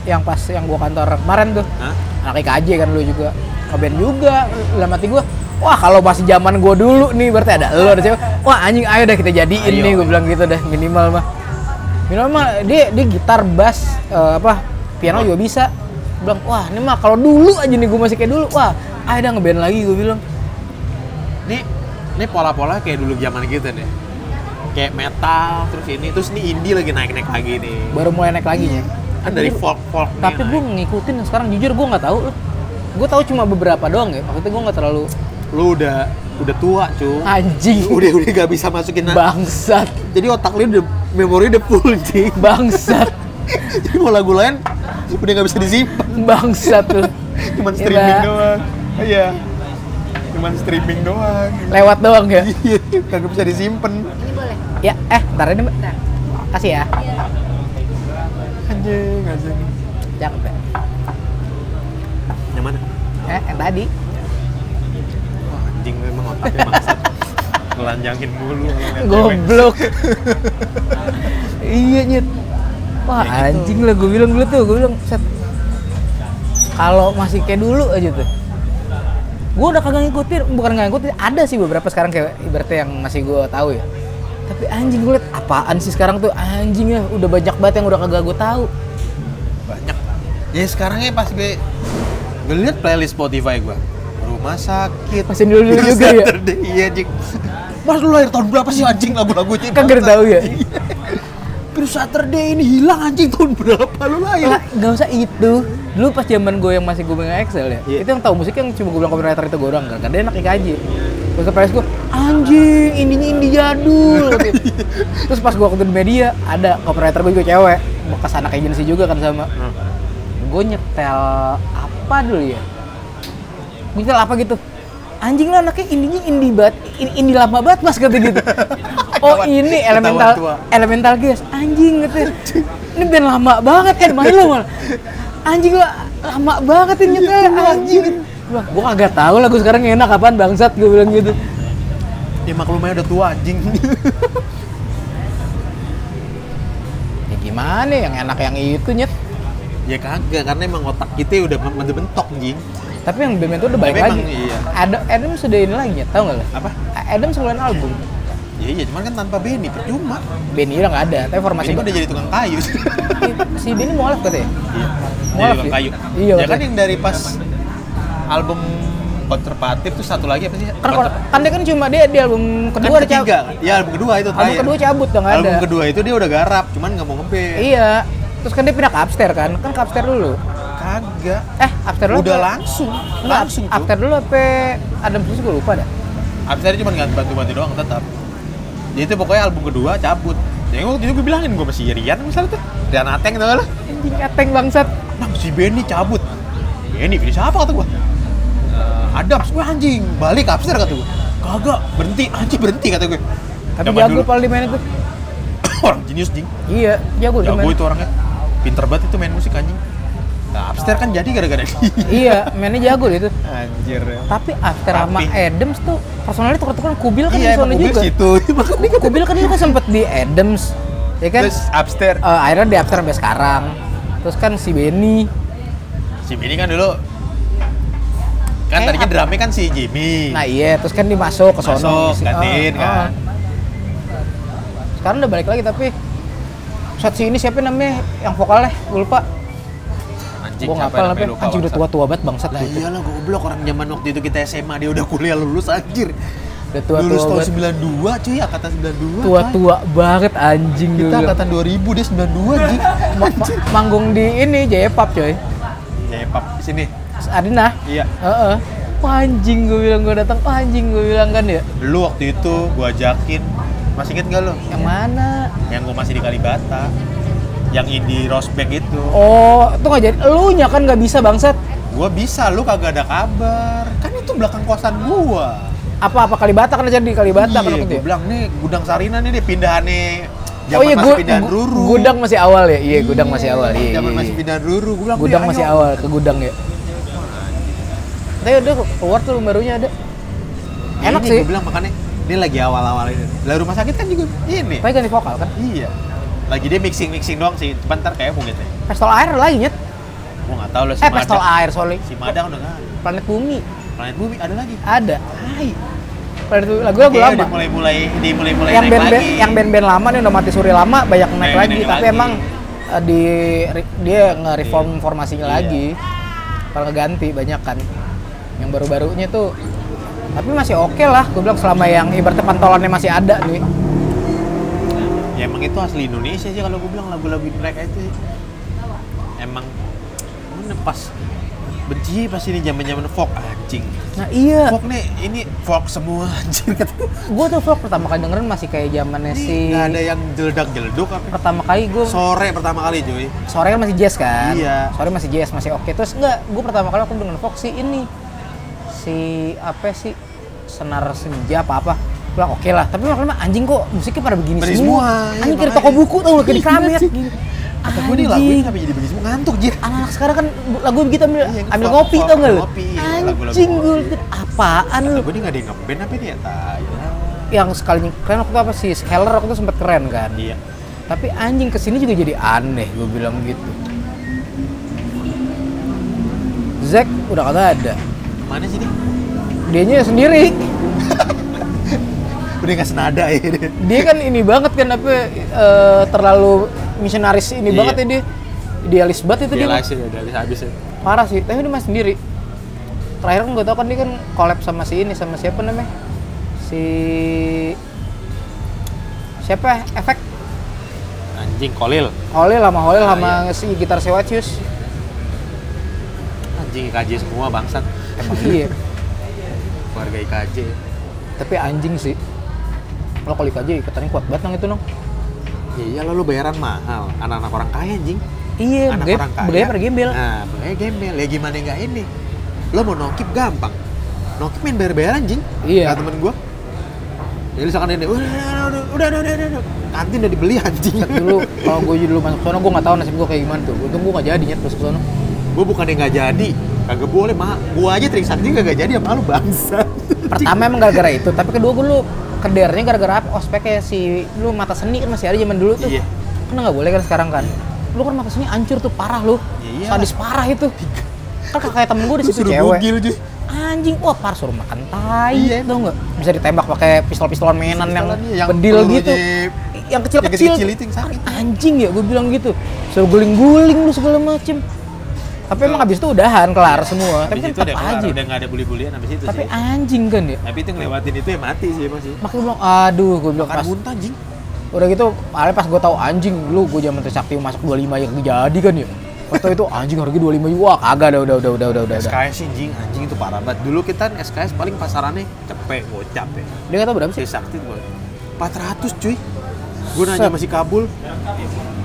S2: Yang pas yang gue kantor kemarin tuh
S1: Hah?
S2: Anak IKJ kan lu juga Ngeband juga, dalam hati gue Wah kalau masih zaman gue dulu nih berarti ada lo ada siapa Wah anjing ayo dah kita jadiin
S1: Ayo.
S2: nih gue bilang gitu dah minimal mah Minimal mah dia, dia gitar, bass, eh, apa piano juga bisa Gua bilang wah ini mah kalau dulu aja nih gue masih kayak dulu Wah ah udah ngeband lagi gue bilang
S1: Ini ini pola-pola kayak dulu zaman kita nih. Kayak metal terus ini terus ini indie lagi naik-naik lagi nih.
S2: baru mulai naik lagi ya
S1: Kan dari folk folk
S2: tapi gue ngikutin sekarang jujur gue nggak tahu gue tahu cuma beberapa doang ya waktu itu gue nggak terlalu
S1: lu udah udah tua cu
S2: anjing
S1: udah udah gak bisa masukin na-
S2: bangsat
S1: jadi otak lu udah memori udah full cing
S2: bangsat
S1: jadi mau lagu lain udah gak bisa disimpan
S2: bangsat tuh
S1: cuman
S2: Iya,
S1: streaming
S2: Mbak.
S1: doang iya cuman streaming doang
S2: lewat doang ya
S1: iya kagak bisa disimpan
S3: Ini boleh.
S2: ya eh ntar ini Mbak. kasih ya
S1: anjing anjing
S2: cakep ya
S1: yang mana
S2: eh yang tadi
S1: Wah, anjing memang otaknya bangsat ngelanjangin mulu kalau ngeliat cewek.
S2: goblok iya nyet wah
S1: Ya gitu.
S2: anjing lah gue bilang dulu tuh gue bilang set kalau masih kayak dulu aja tuh gue udah kagak ngikutin bukan nggak ngikutin ada sih beberapa sekarang kayak ibaratnya yang masih gue tahu ya tapi anjing gue liat apaan sih sekarang tuh anjing ya udah banyak banget yang udah kagak gue tahu
S1: banyak ya sekarang ya pas gue gue liat playlist Spotify gue rumah sakit
S2: Masih dulu-dulu
S1: Terus
S2: juga ya?
S1: Saturday, iya jing mas lu lahir tahun berapa sih anjing lagu-lagunya
S2: kagak tahu ya
S1: Iya. Terus Saturday ini hilang anjing tahun berapa lu lahir
S2: Lah, nggak usah itu dulu pas zaman gue yang masih gue main Excel ya
S1: Iya.
S2: itu yang tahu musik yang cuma gue bilang copywriter itu gue doang kan karena dia anak IKJ terus ke gue anjing indinya indie jadul gitu. terus pas gue ke media ada copywriter gue juga cewek bekas anak agensi juga kan sama
S1: Hmm.
S2: gue nyetel apa dulu ya gue nyetel apa gitu anjing lah anaknya indinya indie banget in- indie lama banget mas kata gitu oh
S1: Ketahuan-
S2: ini
S1: ketahuan
S2: elemental
S1: tua.
S2: Elemental guys, anjing gitu. Ini band lama banget kan main lo malah. Anjing lo lama banget ini nyetel anjing. Wah, gua kagak tahu lah gua sekarang enak apaan bangsat gua bilang gitu.
S1: ya maklumnya udah tua anjing
S2: Ya gimana yang enak yang itu nyet.
S1: ya kagak karena emang otak kita ya udah mem- udah bentok anjing
S2: Tapi yang band itu udah baik
S1: Tapi emang
S2: lagi.
S1: iya.
S2: Adam Adam sudah ini lagi nyet, tahu nggak lo?
S1: apa
S2: Adam sebulan album.
S1: ya iya cuman kan tanpa Benny percuma
S2: Benny udah nggak ada, tapi formasi
S1: Benny kan udah jadi tukang kayu
S2: si Benny mualaf katanya.
S1: Iya.
S2: Mualaf
S1: Jadi tukang
S2: ya?
S1: kayu.
S2: Iya,
S1: Ya kan
S2: betul.
S1: yang dari pas album konservatif tuh satu lagi apa sih?
S2: Kan,
S1: Konser-
S2: kan dia kan cuma dia di album
S1: kan
S2: kedua ada
S1: ketiga
S2: cabut.
S1: kan? Ya album kedua itu
S2: Album
S1: terakhir.
S2: kedua cabut dong ada.
S1: Album kedua itu dia udah garap, cuman nggak mau ngeband.
S2: Iya. Terus kan dia pindah ke upstairs kan? Kan ke upstairs dulu.
S1: Kagak.
S2: Eh, upstairs dulu.
S1: Udah
S2: apa-
S1: langsung,
S2: Enggak,
S1: langsung tuh.
S2: after dulu apa Adam Susi gue lupa dah.
S1: Abis itu cuma nggak bantu-bantu doang tetap. Jadi itu pokoknya album kedua cabut. Jadi waktu itu gue bilangin gue masih Rian misalnya tuh, Rian Ateng tau lah.
S2: Anjing ateng bangsat.
S1: Bang si Benny cabut. Benny, Benny siapa kata gue? Adams, gue anjing, balik abster kata gue. Kagak, berhenti, anjing berhenti kata gue.
S2: Tapi
S1: Zaman
S2: jago
S1: dulu.
S2: paling di main itu.
S1: orang jenius jing.
S2: Iya, jago dia
S1: Jago
S2: main.
S1: itu orangnya. Pinter banget itu main musik anjing. Nah, abster kan jadi gara-gara dia.
S2: iya, mainnya jago dia itu.
S1: Anjir.
S2: Tapi after sama
S1: Tapi-
S2: Adams tuh personalnya tuker-tukeran Kubil kan
S1: Iya,
S2: di
S1: emang
S2: sana
S1: mobil
S2: juga.
S1: situ. Emang
S2: Kubil, kan juga sempet di Adams. Ya kan?
S1: Terus abster.
S2: Eh, akhirnya di after sampai sekarang. Terus kan si Benny.
S1: Si Benny kan dulu kan
S2: Eh,
S1: tadinya
S2: apa?
S1: drumnya kan si Jimmy.
S2: Nah iya, terus kan dimasuk ke sono.
S1: Masuk,
S2: Si-
S1: gantiin
S2: ah, ah.
S1: kan.
S2: Sekarang udah balik lagi tapi saat si ini siapa namanya yang vokalnya? Gue lupa.
S1: Anjing
S2: Gue
S1: siapa
S2: ngapal
S1: namanya
S2: namanya.
S1: lupa,
S2: Anjing
S1: bangsat.
S2: udah
S1: Nah, iya.
S2: tua-tua banget bangsat.
S1: Lah
S2: gitu.
S1: iyalah goblok orang zaman waktu itu kita SMA dia udah kuliah lulus anjir.
S2: Udah tua-tua
S1: lulus tahun
S2: banget.
S1: 92 cuy, angkatan 92. Pak.
S2: tua-tua banget anjing
S1: Kita
S2: dulu.
S1: angkatan 2000 dia 92 anjing.
S2: Ma- ma- manggung di ini Jepap coy.
S1: Ya pap di sini.
S2: Adinah.
S1: Iya.
S2: Heeh. Wah, anjing gue bilang gue datang Wah, anjing gue bilang kan ya.
S1: Lu waktu itu gua ajakin masih inget gak lu?
S2: Yang mana?
S1: Yang gua masih di Kalibata. Yang indie Rosback itu.
S2: Oh, itu nggak jadi. Elunya kan nggak bisa bangsat.
S1: Gua bisa, lu kagak ada kabar. Kan itu belakang kosan gua.
S2: Apa apa Kalibata kan jadi di Kalibata kan
S1: iya,
S2: waktu itu
S1: gua
S2: ya?
S1: bilang nih gudang Sarina nih dia pindahannya zaman
S2: Oh iya,
S1: masih
S2: gu-
S1: pindahan
S2: gu-
S1: Ruru.
S2: Gudang masih awal ya? Iya, gudang masih awal. Iya,
S1: Zaman
S2: iya,
S1: masih
S2: iya.
S1: pindahan Ruru. Gua bilang nih,
S2: Gudang
S1: ayo.
S2: masih awal ke gudang ya. Tapi udah keluar tuh barunya ada. Enak
S1: Ini
S2: sih.
S1: Gue bilang makanya ini lagi awal-awal ini. Lah rumah sakit kan juga ini.
S2: Tapi ganti vokal kan.
S1: Iya. Lagi dia mixing mixing doang sih. Cuman ntar kayak mungkin deh.
S2: Pestol air lagi nyet.
S1: Gua nggak tahu lah si
S2: Eh,
S1: Madang.
S2: pestol air sorry.
S1: Si Madang udah nggak. ada.
S2: Planet Bumi
S1: Planet Bumi ada lagi.
S2: ada.
S1: Hai.
S2: Planet Bumi lagu-lagu
S1: Iya,
S2: lama.
S1: Udah mulai mulai dia mulai mulai
S2: yang
S1: naik
S2: band-band
S1: lagi.
S2: yang band-band lama nih udah mati suri lama banyak naik
S1: Naik-
S2: lagi
S1: naik
S2: tapi
S1: lagi.
S2: emang eh, di re- dia nge-reform formasinya
S1: Iya.
S2: lagi kalau ganti banyak kan yang baru-barunya tuh tapi masih oke lah gue bilang selama yang ibaratnya pantolannya masih ada nih
S1: ya emang itu asli Indonesia sih kalau gue bilang lagu-lagu mereka itu emang mana pas benci pas ini zaman zaman folk anjing
S2: nah iya
S1: folk nih ini folk semua anjing
S2: gue tuh vlog pertama kali dengerin masih kayak zamannya si
S1: nggak ada yang jeledak jeleduk apa
S2: pertama kali gue
S1: sore pertama kali Joy
S2: sore kan masih jazz kan
S1: Iya.
S2: sore masih jazz masih oke terus enggak gue pertama kali aku dengan Fox si ini si apa sih senar senja apa apa bilang oke lah tapi maklum anjing kok musiknya pada begini
S1: Begini
S2: semua,
S1: semua, iya,
S2: anjing kira
S1: makanya.
S2: toko buku tau lu kayak di
S1: Iya,
S2: kramet
S1: anjing.
S2: gini.
S1: kata gue nih lagu
S2: Anjing.
S1: ini sampai jadi begini semua ngantuk jir
S2: anak-anak sekarang kan lagu begitu ambil,
S1: Iya,
S2: ambil
S1: folk-
S2: kopi
S1: folk,
S2: tau gak lu
S1: ngopi, iya, lagu-lagu
S2: anjing gue
S1: ngopi.
S2: liat, apaan lu
S1: kata gue nih nggak ada yang ngeband apa ini ya tai lah.
S2: yang sekalinya keren waktu itu apa sih Heller waktu itu sempet keren kan
S1: iya
S2: tapi anjing kesini juga jadi aneh gue bilang gitu Zack udah kagak ada
S1: mana sih nih
S2: dianya sendiri
S1: udah nggak senada ya dia.
S2: dia kan ini banget kan apa eh, terlalu misionaris ini
S1: Iya.
S2: banget ya dia idealis banget itu
S1: dia
S2: dia
S1: lah sih udah habis habis ya
S2: parah sih tapi dia masih sendiri terakhir kan gue tau kan dia kan collab sama si ini sama siapa namanya si siapa efek
S1: anjing kolil
S2: Holil sama Holil
S1: Ah,
S2: sama si gitar Sewatius
S1: anjing IKJ semua bangsat
S2: emang iya
S1: keluarga IKJ
S2: tapi anjing sih lo kalau aja ikatannya kuat banget nang itu nong
S1: ya iyalah lu bayaran mahal anak-anak orang kaya anjing
S2: iya
S1: anak
S2: budaya
S1: orang kaya
S2: budaya pada gembel
S1: nah budaya gembel ya gimana nggak ini lo mau nongkip gampang nongkip main bayar-bayar anjing
S2: Iya.
S1: Kata temen gua ya misalkan ini udah udah udah udah udah udah, udah." kantin udah dibeli anjing
S2: dulu kalau gue dulu masuk sono gue nggak tahu nasib gue kayak gimana tuh untung gue nggak jadi nyet masuk sono
S1: gua bukan yang nggak jadi kagak boleh mah gua aja trisakti kagak jadi sama lu bangsa
S2: pertama emang gara-gara itu tapi kedua gue dulu kedernya gara-gara apa ospeknya si lu mata seni kan masih ada zaman dulu tuh
S1: Iya.
S2: kan nggak boleh kan sekarang kan lu kan mata seni hancur tuh parah lu
S1: Iya iyalah.
S2: sadis parah itu kan kakak temen gue di
S1: Lu
S2: situ
S1: suruh
S2: cewek
S1: bugil Ji.
S2: anjing wah par suruh makan tai
S1: Iya,
S2: tau nggak bisa ditembak pakai pistol-pistolan mainan yang,
S1: Pistolan, iya, yang
S2: bedil
S1: pelurunya
S2: gitu yang kecil-kecil
S1: kecil-kecil itu yang sakit.
S2: anjing ya gue bilang gitu suruh guling-guling lu segala macem tapi emang abis itu udahan kelar semua
S1: Habis
S2: tapi
S1: Iya.
S2: kan
S1: itu udah
S2: tetap
S1: kelar,
S2: aja
S1: udah nggak ada bully-bulian habis itu
S2: tapi
S1: sih
S2: anjing kan ya
S1: tapi itu ngelewatin itu ya mati sih masih
S2: makanya gue bilang aduh gue bilang
S1: karena
S2: pas
S1: muntah anjing
S2: udah gitu akhirnya pas gue tahu anjing dulu gue zaman Trisakti masuk 25 yang jadi kan ya pas tau itu anjing harga 25 juga kagak dah, udah udah udah udah Ya udah udah
S1: SKS sih anjing, anjing itu parah banget. Dulu kita kan SKS paling pasarannya cepet, gocap ya.
S2: dia nggak tahu berapa sih
S1: Trisakti tuh 400 cuy. Gue nanya masih Kabul.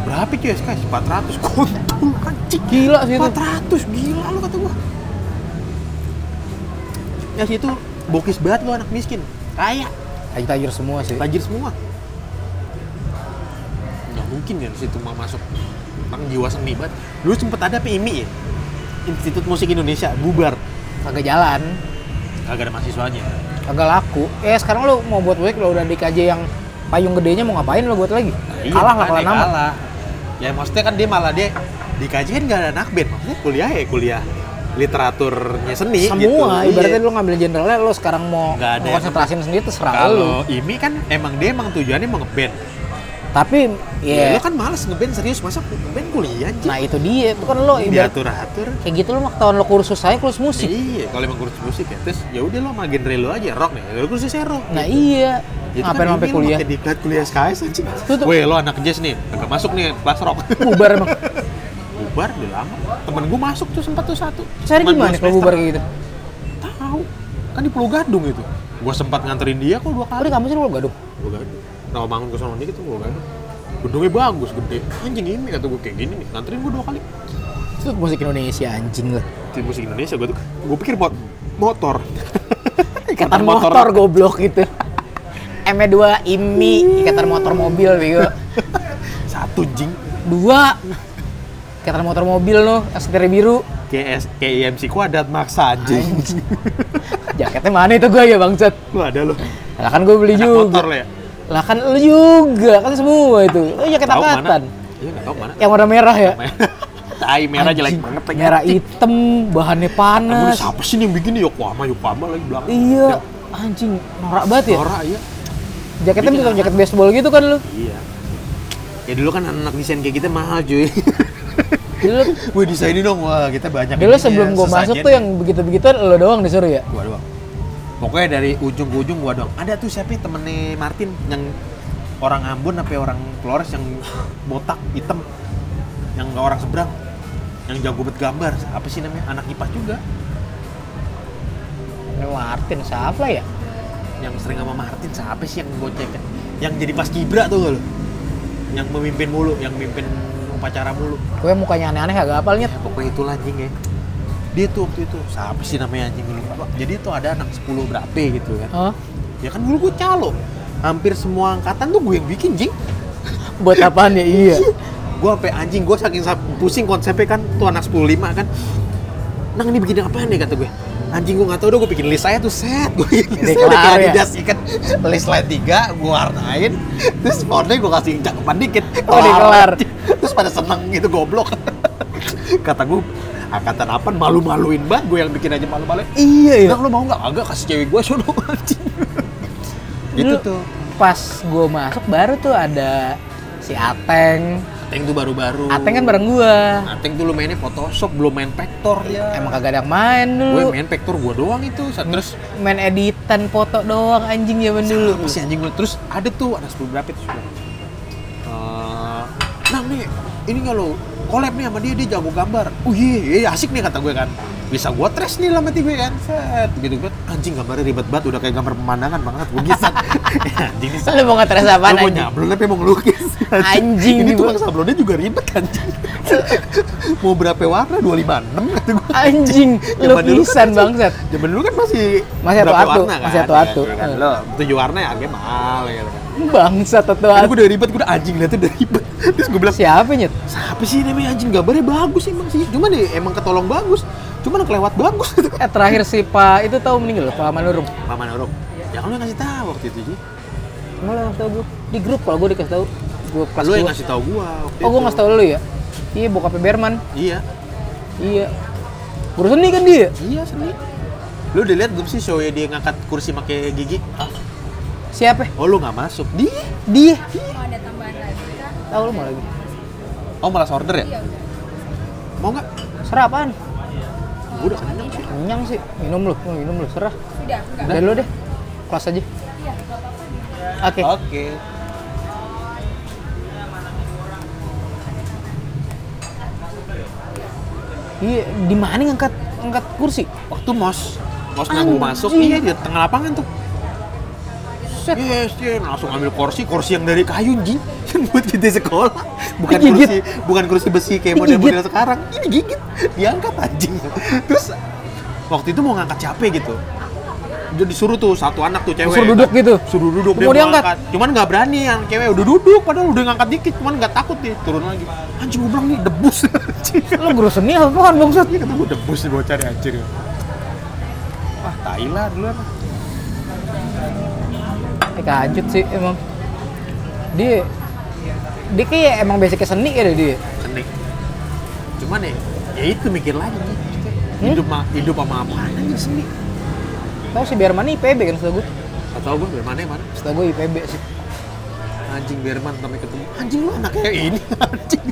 S1: Berapa cuy SKS? 400 kontol anjing.
S2: Gila sih itu.
S1: 400 gila lu kata gua. Ya situ bokis banget lu anak miskin. Kaya,
S2: tajir semua sih
S1: tajir semua. Nggak mungkin ya di situ mau masuk tentang jiwa seni banget. Dulu sempet ada PIMI ya. Institut Musik Indonesia bubar.
S2: kagak jalan
S1: Kagak ada mahasiswanya.
S2: agak laku. Eh sekarang lo mau buat wake lo udah di KJ yang payung gedenya mau ngapain lo buat lagi?
S1: Iya,
S2: kalah lah
S1: makanya
S2: kalah nama.
S1: kalah. Ya maksudnya kan dia malah dia di KJ kan nggak ada anak band, maksudnya kuliah ya kuliah literaturnya seni gitu.
S2: Semua
S1: Iya.
S2: ibaratnya lo ngambil jenderalnya lo sekarang mau
S1: Nggak ada yang-
S2: konsentrasiin sendiri terserah lo.
S1: kalau Imi kan emang dia emang tujuannya mau ngeband.
S2: Tapi
S1: Ya,
S2: ya
S1: lo kan males ngeband serius masa ngeband kuliah anjing.
S2: nah itu dia itu kan lo ibarat
S1: diatur-atur.
S2: kayak gitu lo mah tahun lo kursus saya kursus musik.
S1: Iya, kalau emang kursus musik ya, terus ya udah lo sama genre lo aja rock nih, lo kursusnya rock.
S2: Nah iya.
S1: gitu. Itu kan
S2: ngapain
S1: Imi
S2: sampai
S1: lo
S2: kuliah?
S1: pakai diklat kuliah SKS anjing.
S2: Tuh, tuh.
S1: Weh, lo anak jazz nih, kagak masuk nih kelas rock.
S2: Bubar emang.
S1: bubar udah lama. Temen gue masuk tuh sempat tuh satu.
S2: Cari
S1: Cuman
S2: gimana
S1: dua
S2: kalau
S1: semester.
S2: bubar kayak gitu?
S1: Tahu. Kan di Pulau Gadung itu. Gua sempat nganterin dia kok dua
S2: Udah
S1: kali.
S2: kamu sih lo gaduh.
S1: Pulau Gadung. Nah, bangun ke sono dikit tuh Pulau Gadung. Gedungnya bagus, gede. Anjing ini kata gue kayak gini nih, nganterin gue dua kali.
S2: Itu musik Indonesia anjing lah.
S1: Di musik Indonesia gue tuh, gue pikir mot motor.
S2: Ikatan motor, goblok gitu. E M2 IMI, ikatan motor mobil bego.
S1: Satu jing.
S2: dua ikatan motor mobil lo yang setirnya biru
S1: KS, KIMC kuadrat maksa anjing.
S2: jaketnya mana itu gue ya bangsat
S1: lu ada lu.
S2: lah kan gue beli
S1: Anak
S2: juga
S1: motor lo ya?
S2: lah kan lu juga kan semua itu lo jaket
S1: Tahu mana?
S2: angkatan
S1: Iya, nggak tahu mana.
S2: yang warna merah ya
S1: Tai merah jelek
S2: Anjing,
S1: banget lagi.
S2: merah hitam bahannya
S1: Emang ini
S2: panas
S1: siapa sih nih yang bikin nih Yokohama Yokohama lagi belakang.
S2: iya anjing norak banget ya
S1: Norak iya.
S2: jaketnya
S1: Bikin
S2: bukan jaket baseball gitu kan lu
S1: Iya. Ya dulu kan anak desain kayak gitu mahal cuy.
S2: dulu
S1: Wih desain ini dong, wah kita banyak
S2: dulu
S1: ininya,
S2: sebelum gue
S1: sesajen
S2: masuk tuh
S1: nih.
S2: yang begitu-begituan lo doang disuruh ya
S1: gua doang pokoknya dari ujung ke ujung gua doang ada tuh siapa ya, temennya Martin yang orang Ambon sampai orang Flores yang botak hitam yang nggak orang seberang yang jago buat gambar apa sih namanya anak IPA juga
S2: Ini Martin siapa ya
S1: yang sering sama Martin siapa sih yang gocek yang jadi pas kibra tuh lo yang memimpin mulu yang mimpin upacara mulu
S2: gue mukanya aneh-aneh agak apalnya
S1: Ya, pokoknya itu anjing ya dia tuh waktu itu siapa sih namanya anjing gua lupa jadi tuh ada anak 10 berapa gitu kan
S2: oh,
S1: ya kan dulu gue calo hampir semua angkatan tuh gue yang bikin jing
S2: buat apaan ya iya
S1: gue sampai anjing gue saking sa- pusing konsepnya kan tuh anak 15 kan nang ini bikin apaan nih kata gue anjing gue nggak tahu udah gue bikin list aja tuh set gue bikin list
S2: Udah
S1: aja
S2: kelar ya?
S1: Adidas, ya kan list line 3 gue warnain terus fontnya gue kasih cakupan dikit
S2: Oh, udah kelar.
S1: terus pada seneng gitu goblok kata gue angkatan apa malu-maluin banget gue yang bikin aja malu-maluin
S2: iya
S1: Nang lu mau nggak agak kasih cewek gue sono anjing gitu
S2: Dulu
S1: tuh
S2: pas gue masuk baru tuh ada si Ateng
S1: Ateng tuh baru-baru
S2: Ateng kan bareng gue
S1: Ateng dulu mainnya Photoshop, belum main Pektor ya.
S2: emang kagak ada yang main dulu
S1: gue main Pektor gue doang itu. Sa- Terus
S2: main editan foto doang anjing zaman dulu
S1: apa sih anjing gue? Terus ada tuh ada sepuluh berapa itu sebenarnya. Eh, nah nih ini nggak lo collab nih sama dia dia jago gambar. Oh iya, iya, iya, asik nih kata gue kan. Bisa gue trash nih lama gue kan. Set gitu kan. Anjing gambarnya ribet banget udah kayak gambar pemandangan banget gue gisan. anjing ini
S2: lu mau ngetres apaan
S1: Lu mau
S2: anjing?
S1: nyablon tapi mau ngelukis.
S2: Anjing,
S1: Ini
S2: nih,
S1: tukang
S2: Bu.
S1: sablonnya juga ribet anjing. mau berapa warna? 256 kata gue.
S2: anjing lu
S1: Zaman dulu
S2: pisan
S1: kan
S2: bangsat
S1: Zaman dulu kan masih
S2: Masih
S1: berapa
S2: atu-atu,
S1: warna
S2: masih atu-atu.
S1: Ya, kan? Lo tujuh warna ya harganya mahal ya kan.
S2: bangsat atau
S1: Aduh,
S2: apa
S1: gue udah ribet, gue udah anjing liatnya udah ribet. Terus gue bilang,
S2: siapa nyet
S1: siapa sih namanya anjing gambarnya bagus emang sih. Cuman ya, emang ketolong bagus. Cuman kelewat bagus. gitu.
S2: eh terakhir si Pak itu tahu meninggal Pak Manurum
S1: Paman Orok, ya kan lo yang ngasih tahu waktu itu sih.
S2: malah ngasih tau gue di grup kalau gue dikasih tau gue kelas
S1: Lo yang
S2: dua.
S1: ngasih tahu gue waktu
S2: oh gue
S1: itu.
S2: ngasih tau lu ya iya bokapnya Berman
S1: Iya,
S2: iya guru seni kan dia
S1: iya seni. Lo udah liat belum sih show-nya dia ngangkat kursi pakai gigi?
S2: siapa
S1: Oh lo nggak masuk? Di?
S2: dia
S3: Mau ada tambahan lagi kan?
S2: tahu lu mau lagi
S1: Oh malas order
S2: Iya.
S1: ya? Mau nggak?
S2: serah apaan
S1: Gue udah kenyang sih.
S2: kenyang sih minum lu mau minum lu serah
S3: Sudah, enggak.
S2: udah Iya, lu deh kelas aja oke
S1: Oke.
S2: iya di mana ngangkat ngangkat kursi
S1: Waktu mos, mos nggak mau masuk, iya di tengah lapangan tuh.
S2: Set.
S1: Yes, yes, langsung ambil kursi, kursi yang dari kayu anjing. Yang buat kita sekolah. Bukan
S2: Digigit.
S1: kursi, bukan kursi besi kayak
S2: Digigit.
S1: model-model sekarang. Ini gigit, diangkat anjing. Terus waktu itu mau ngangkat capek gitu. Dia disuruh tuh satu anak tuh cewek.
S2: Disuruh duduk gitu?
S1: Suruh duduk
S2: Mau
S1: dia
S2: diangkat?
S1: ngangkat. Cuman nggak berani yang cewek udah duduk padahal udah ngangkat dikit, cuman nggak takut nih turun lagi. Anjing gue bilang nih debus. Anjing.
S2: lu guru seni apa apaan bangsat
S1: Ini kata gue debus nih bocah nih anjir. Wah, Thailand dulu apa?
S2: Eh kajut sih emang. Dia dia kayak emang basicnya seni ya dia.
S1: Seni. Cuman ya, ya itu mikir lagi. Hidup, ma- hidup sama apa? Anjir seni.
S2: Tahu si Berman nih IPB kan setahu gue.
S1: Gak tau gue Berman ya, mana?
S2: Setahu gue IPB sih.
S1: Anjing Berman sampai ketemu. Anjing lu anaknya ini anjing.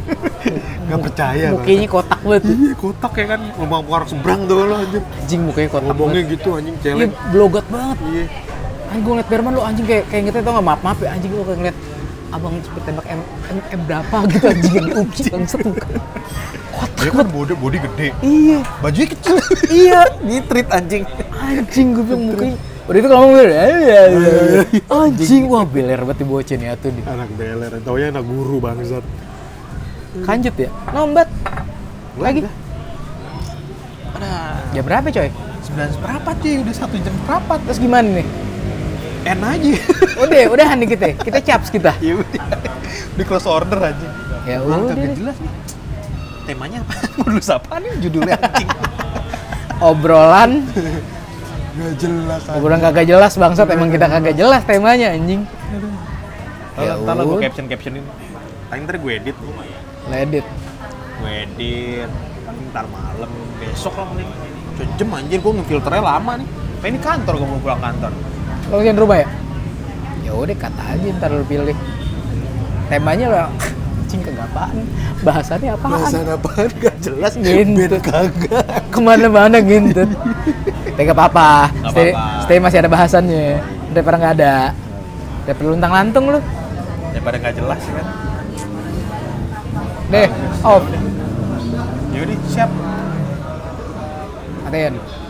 S1: Gak percaya.
S2: Mukanya kotak banget. tuh.
S1: Iya kotak ya kan. Ngomong sama orang seberang tuh lo anjing.
S2: Anjing mukanya kotak
S1: Ngomongnya
S2: banget.
S1: gitu anjing
S2: Iya,
S1: celeng.
S2: blogot banget.
S1: Iya.
S2: Anjing gue ngeliat Berman lu anjing kayak kayak gitu tau gak maaf maaf ya anjing gue kayak ngeliat abang seperti tembak M, M, M berapa gitu anjing yang diuji bangsat mukanya.
S1: Dia kan body, body gede.
S2: Iya,
S1: Bajunya kecil.
S2: iya.
S1: Nitrit anjing.
S2: Anjing gue bilang mukanya. Udah itu kalau ngomong ya, ya, ya, ya. Anjing, wah beler banget ibu bocah nih atuh gitu. dia.
S1: Anak beler. Taunya anak guru bangsat.
S2: Kanjut ya? Nombat. Lagi.
S1: Ada
S2: Jam berapa coy?
S1: sembilan seperempat cuy udah satu jam seperempat
S2: Terus gimana nih?
S1: enak aja
S2: Udah, udahan nih kita. ya? Kita caps kita.
S1: iya udah di close order aja
S2: Ya
S1: Orang
S2: udah.
S1: kagak
S2: deh.
S1: jelas nih temanya apa modus apa nih judulnya anjing
S2: Obrolan,
S1: gak jelas
S2: obrolan kagak jelas bangsat. Emang kita kagak jelas temanya anjing. Ya
S1: ntar lah gue
S2: udah.
S1: caption captionin paling ntar gue edit
S2: Ledit.
S1: gue edit paling ntar malam besok lah paling sejem anjir gue ngefilternya lama nih Tapi ini kantor gue mau pulang kantor
S2: Lo kerjain rubah ya? Ya udah kata aja ntar lo pilih. Temanya lo anjing kagak apaan bahasannya apaan
S1: Bahasan kan? apaan gak jelas
S2: Gentut.
S1: Ben kagak
S2: kemana-mana gintut tapi gak apa-apa
S1: Gak
S2: stay,
S1: apa-apa.
S2: stay masih ada bahasannya daripada nggak ada daripada luntang lantung lu
S1: Daripada gak jelas ya kan
S2: deh off
S1: Ya Yaudah siap
S2: Aten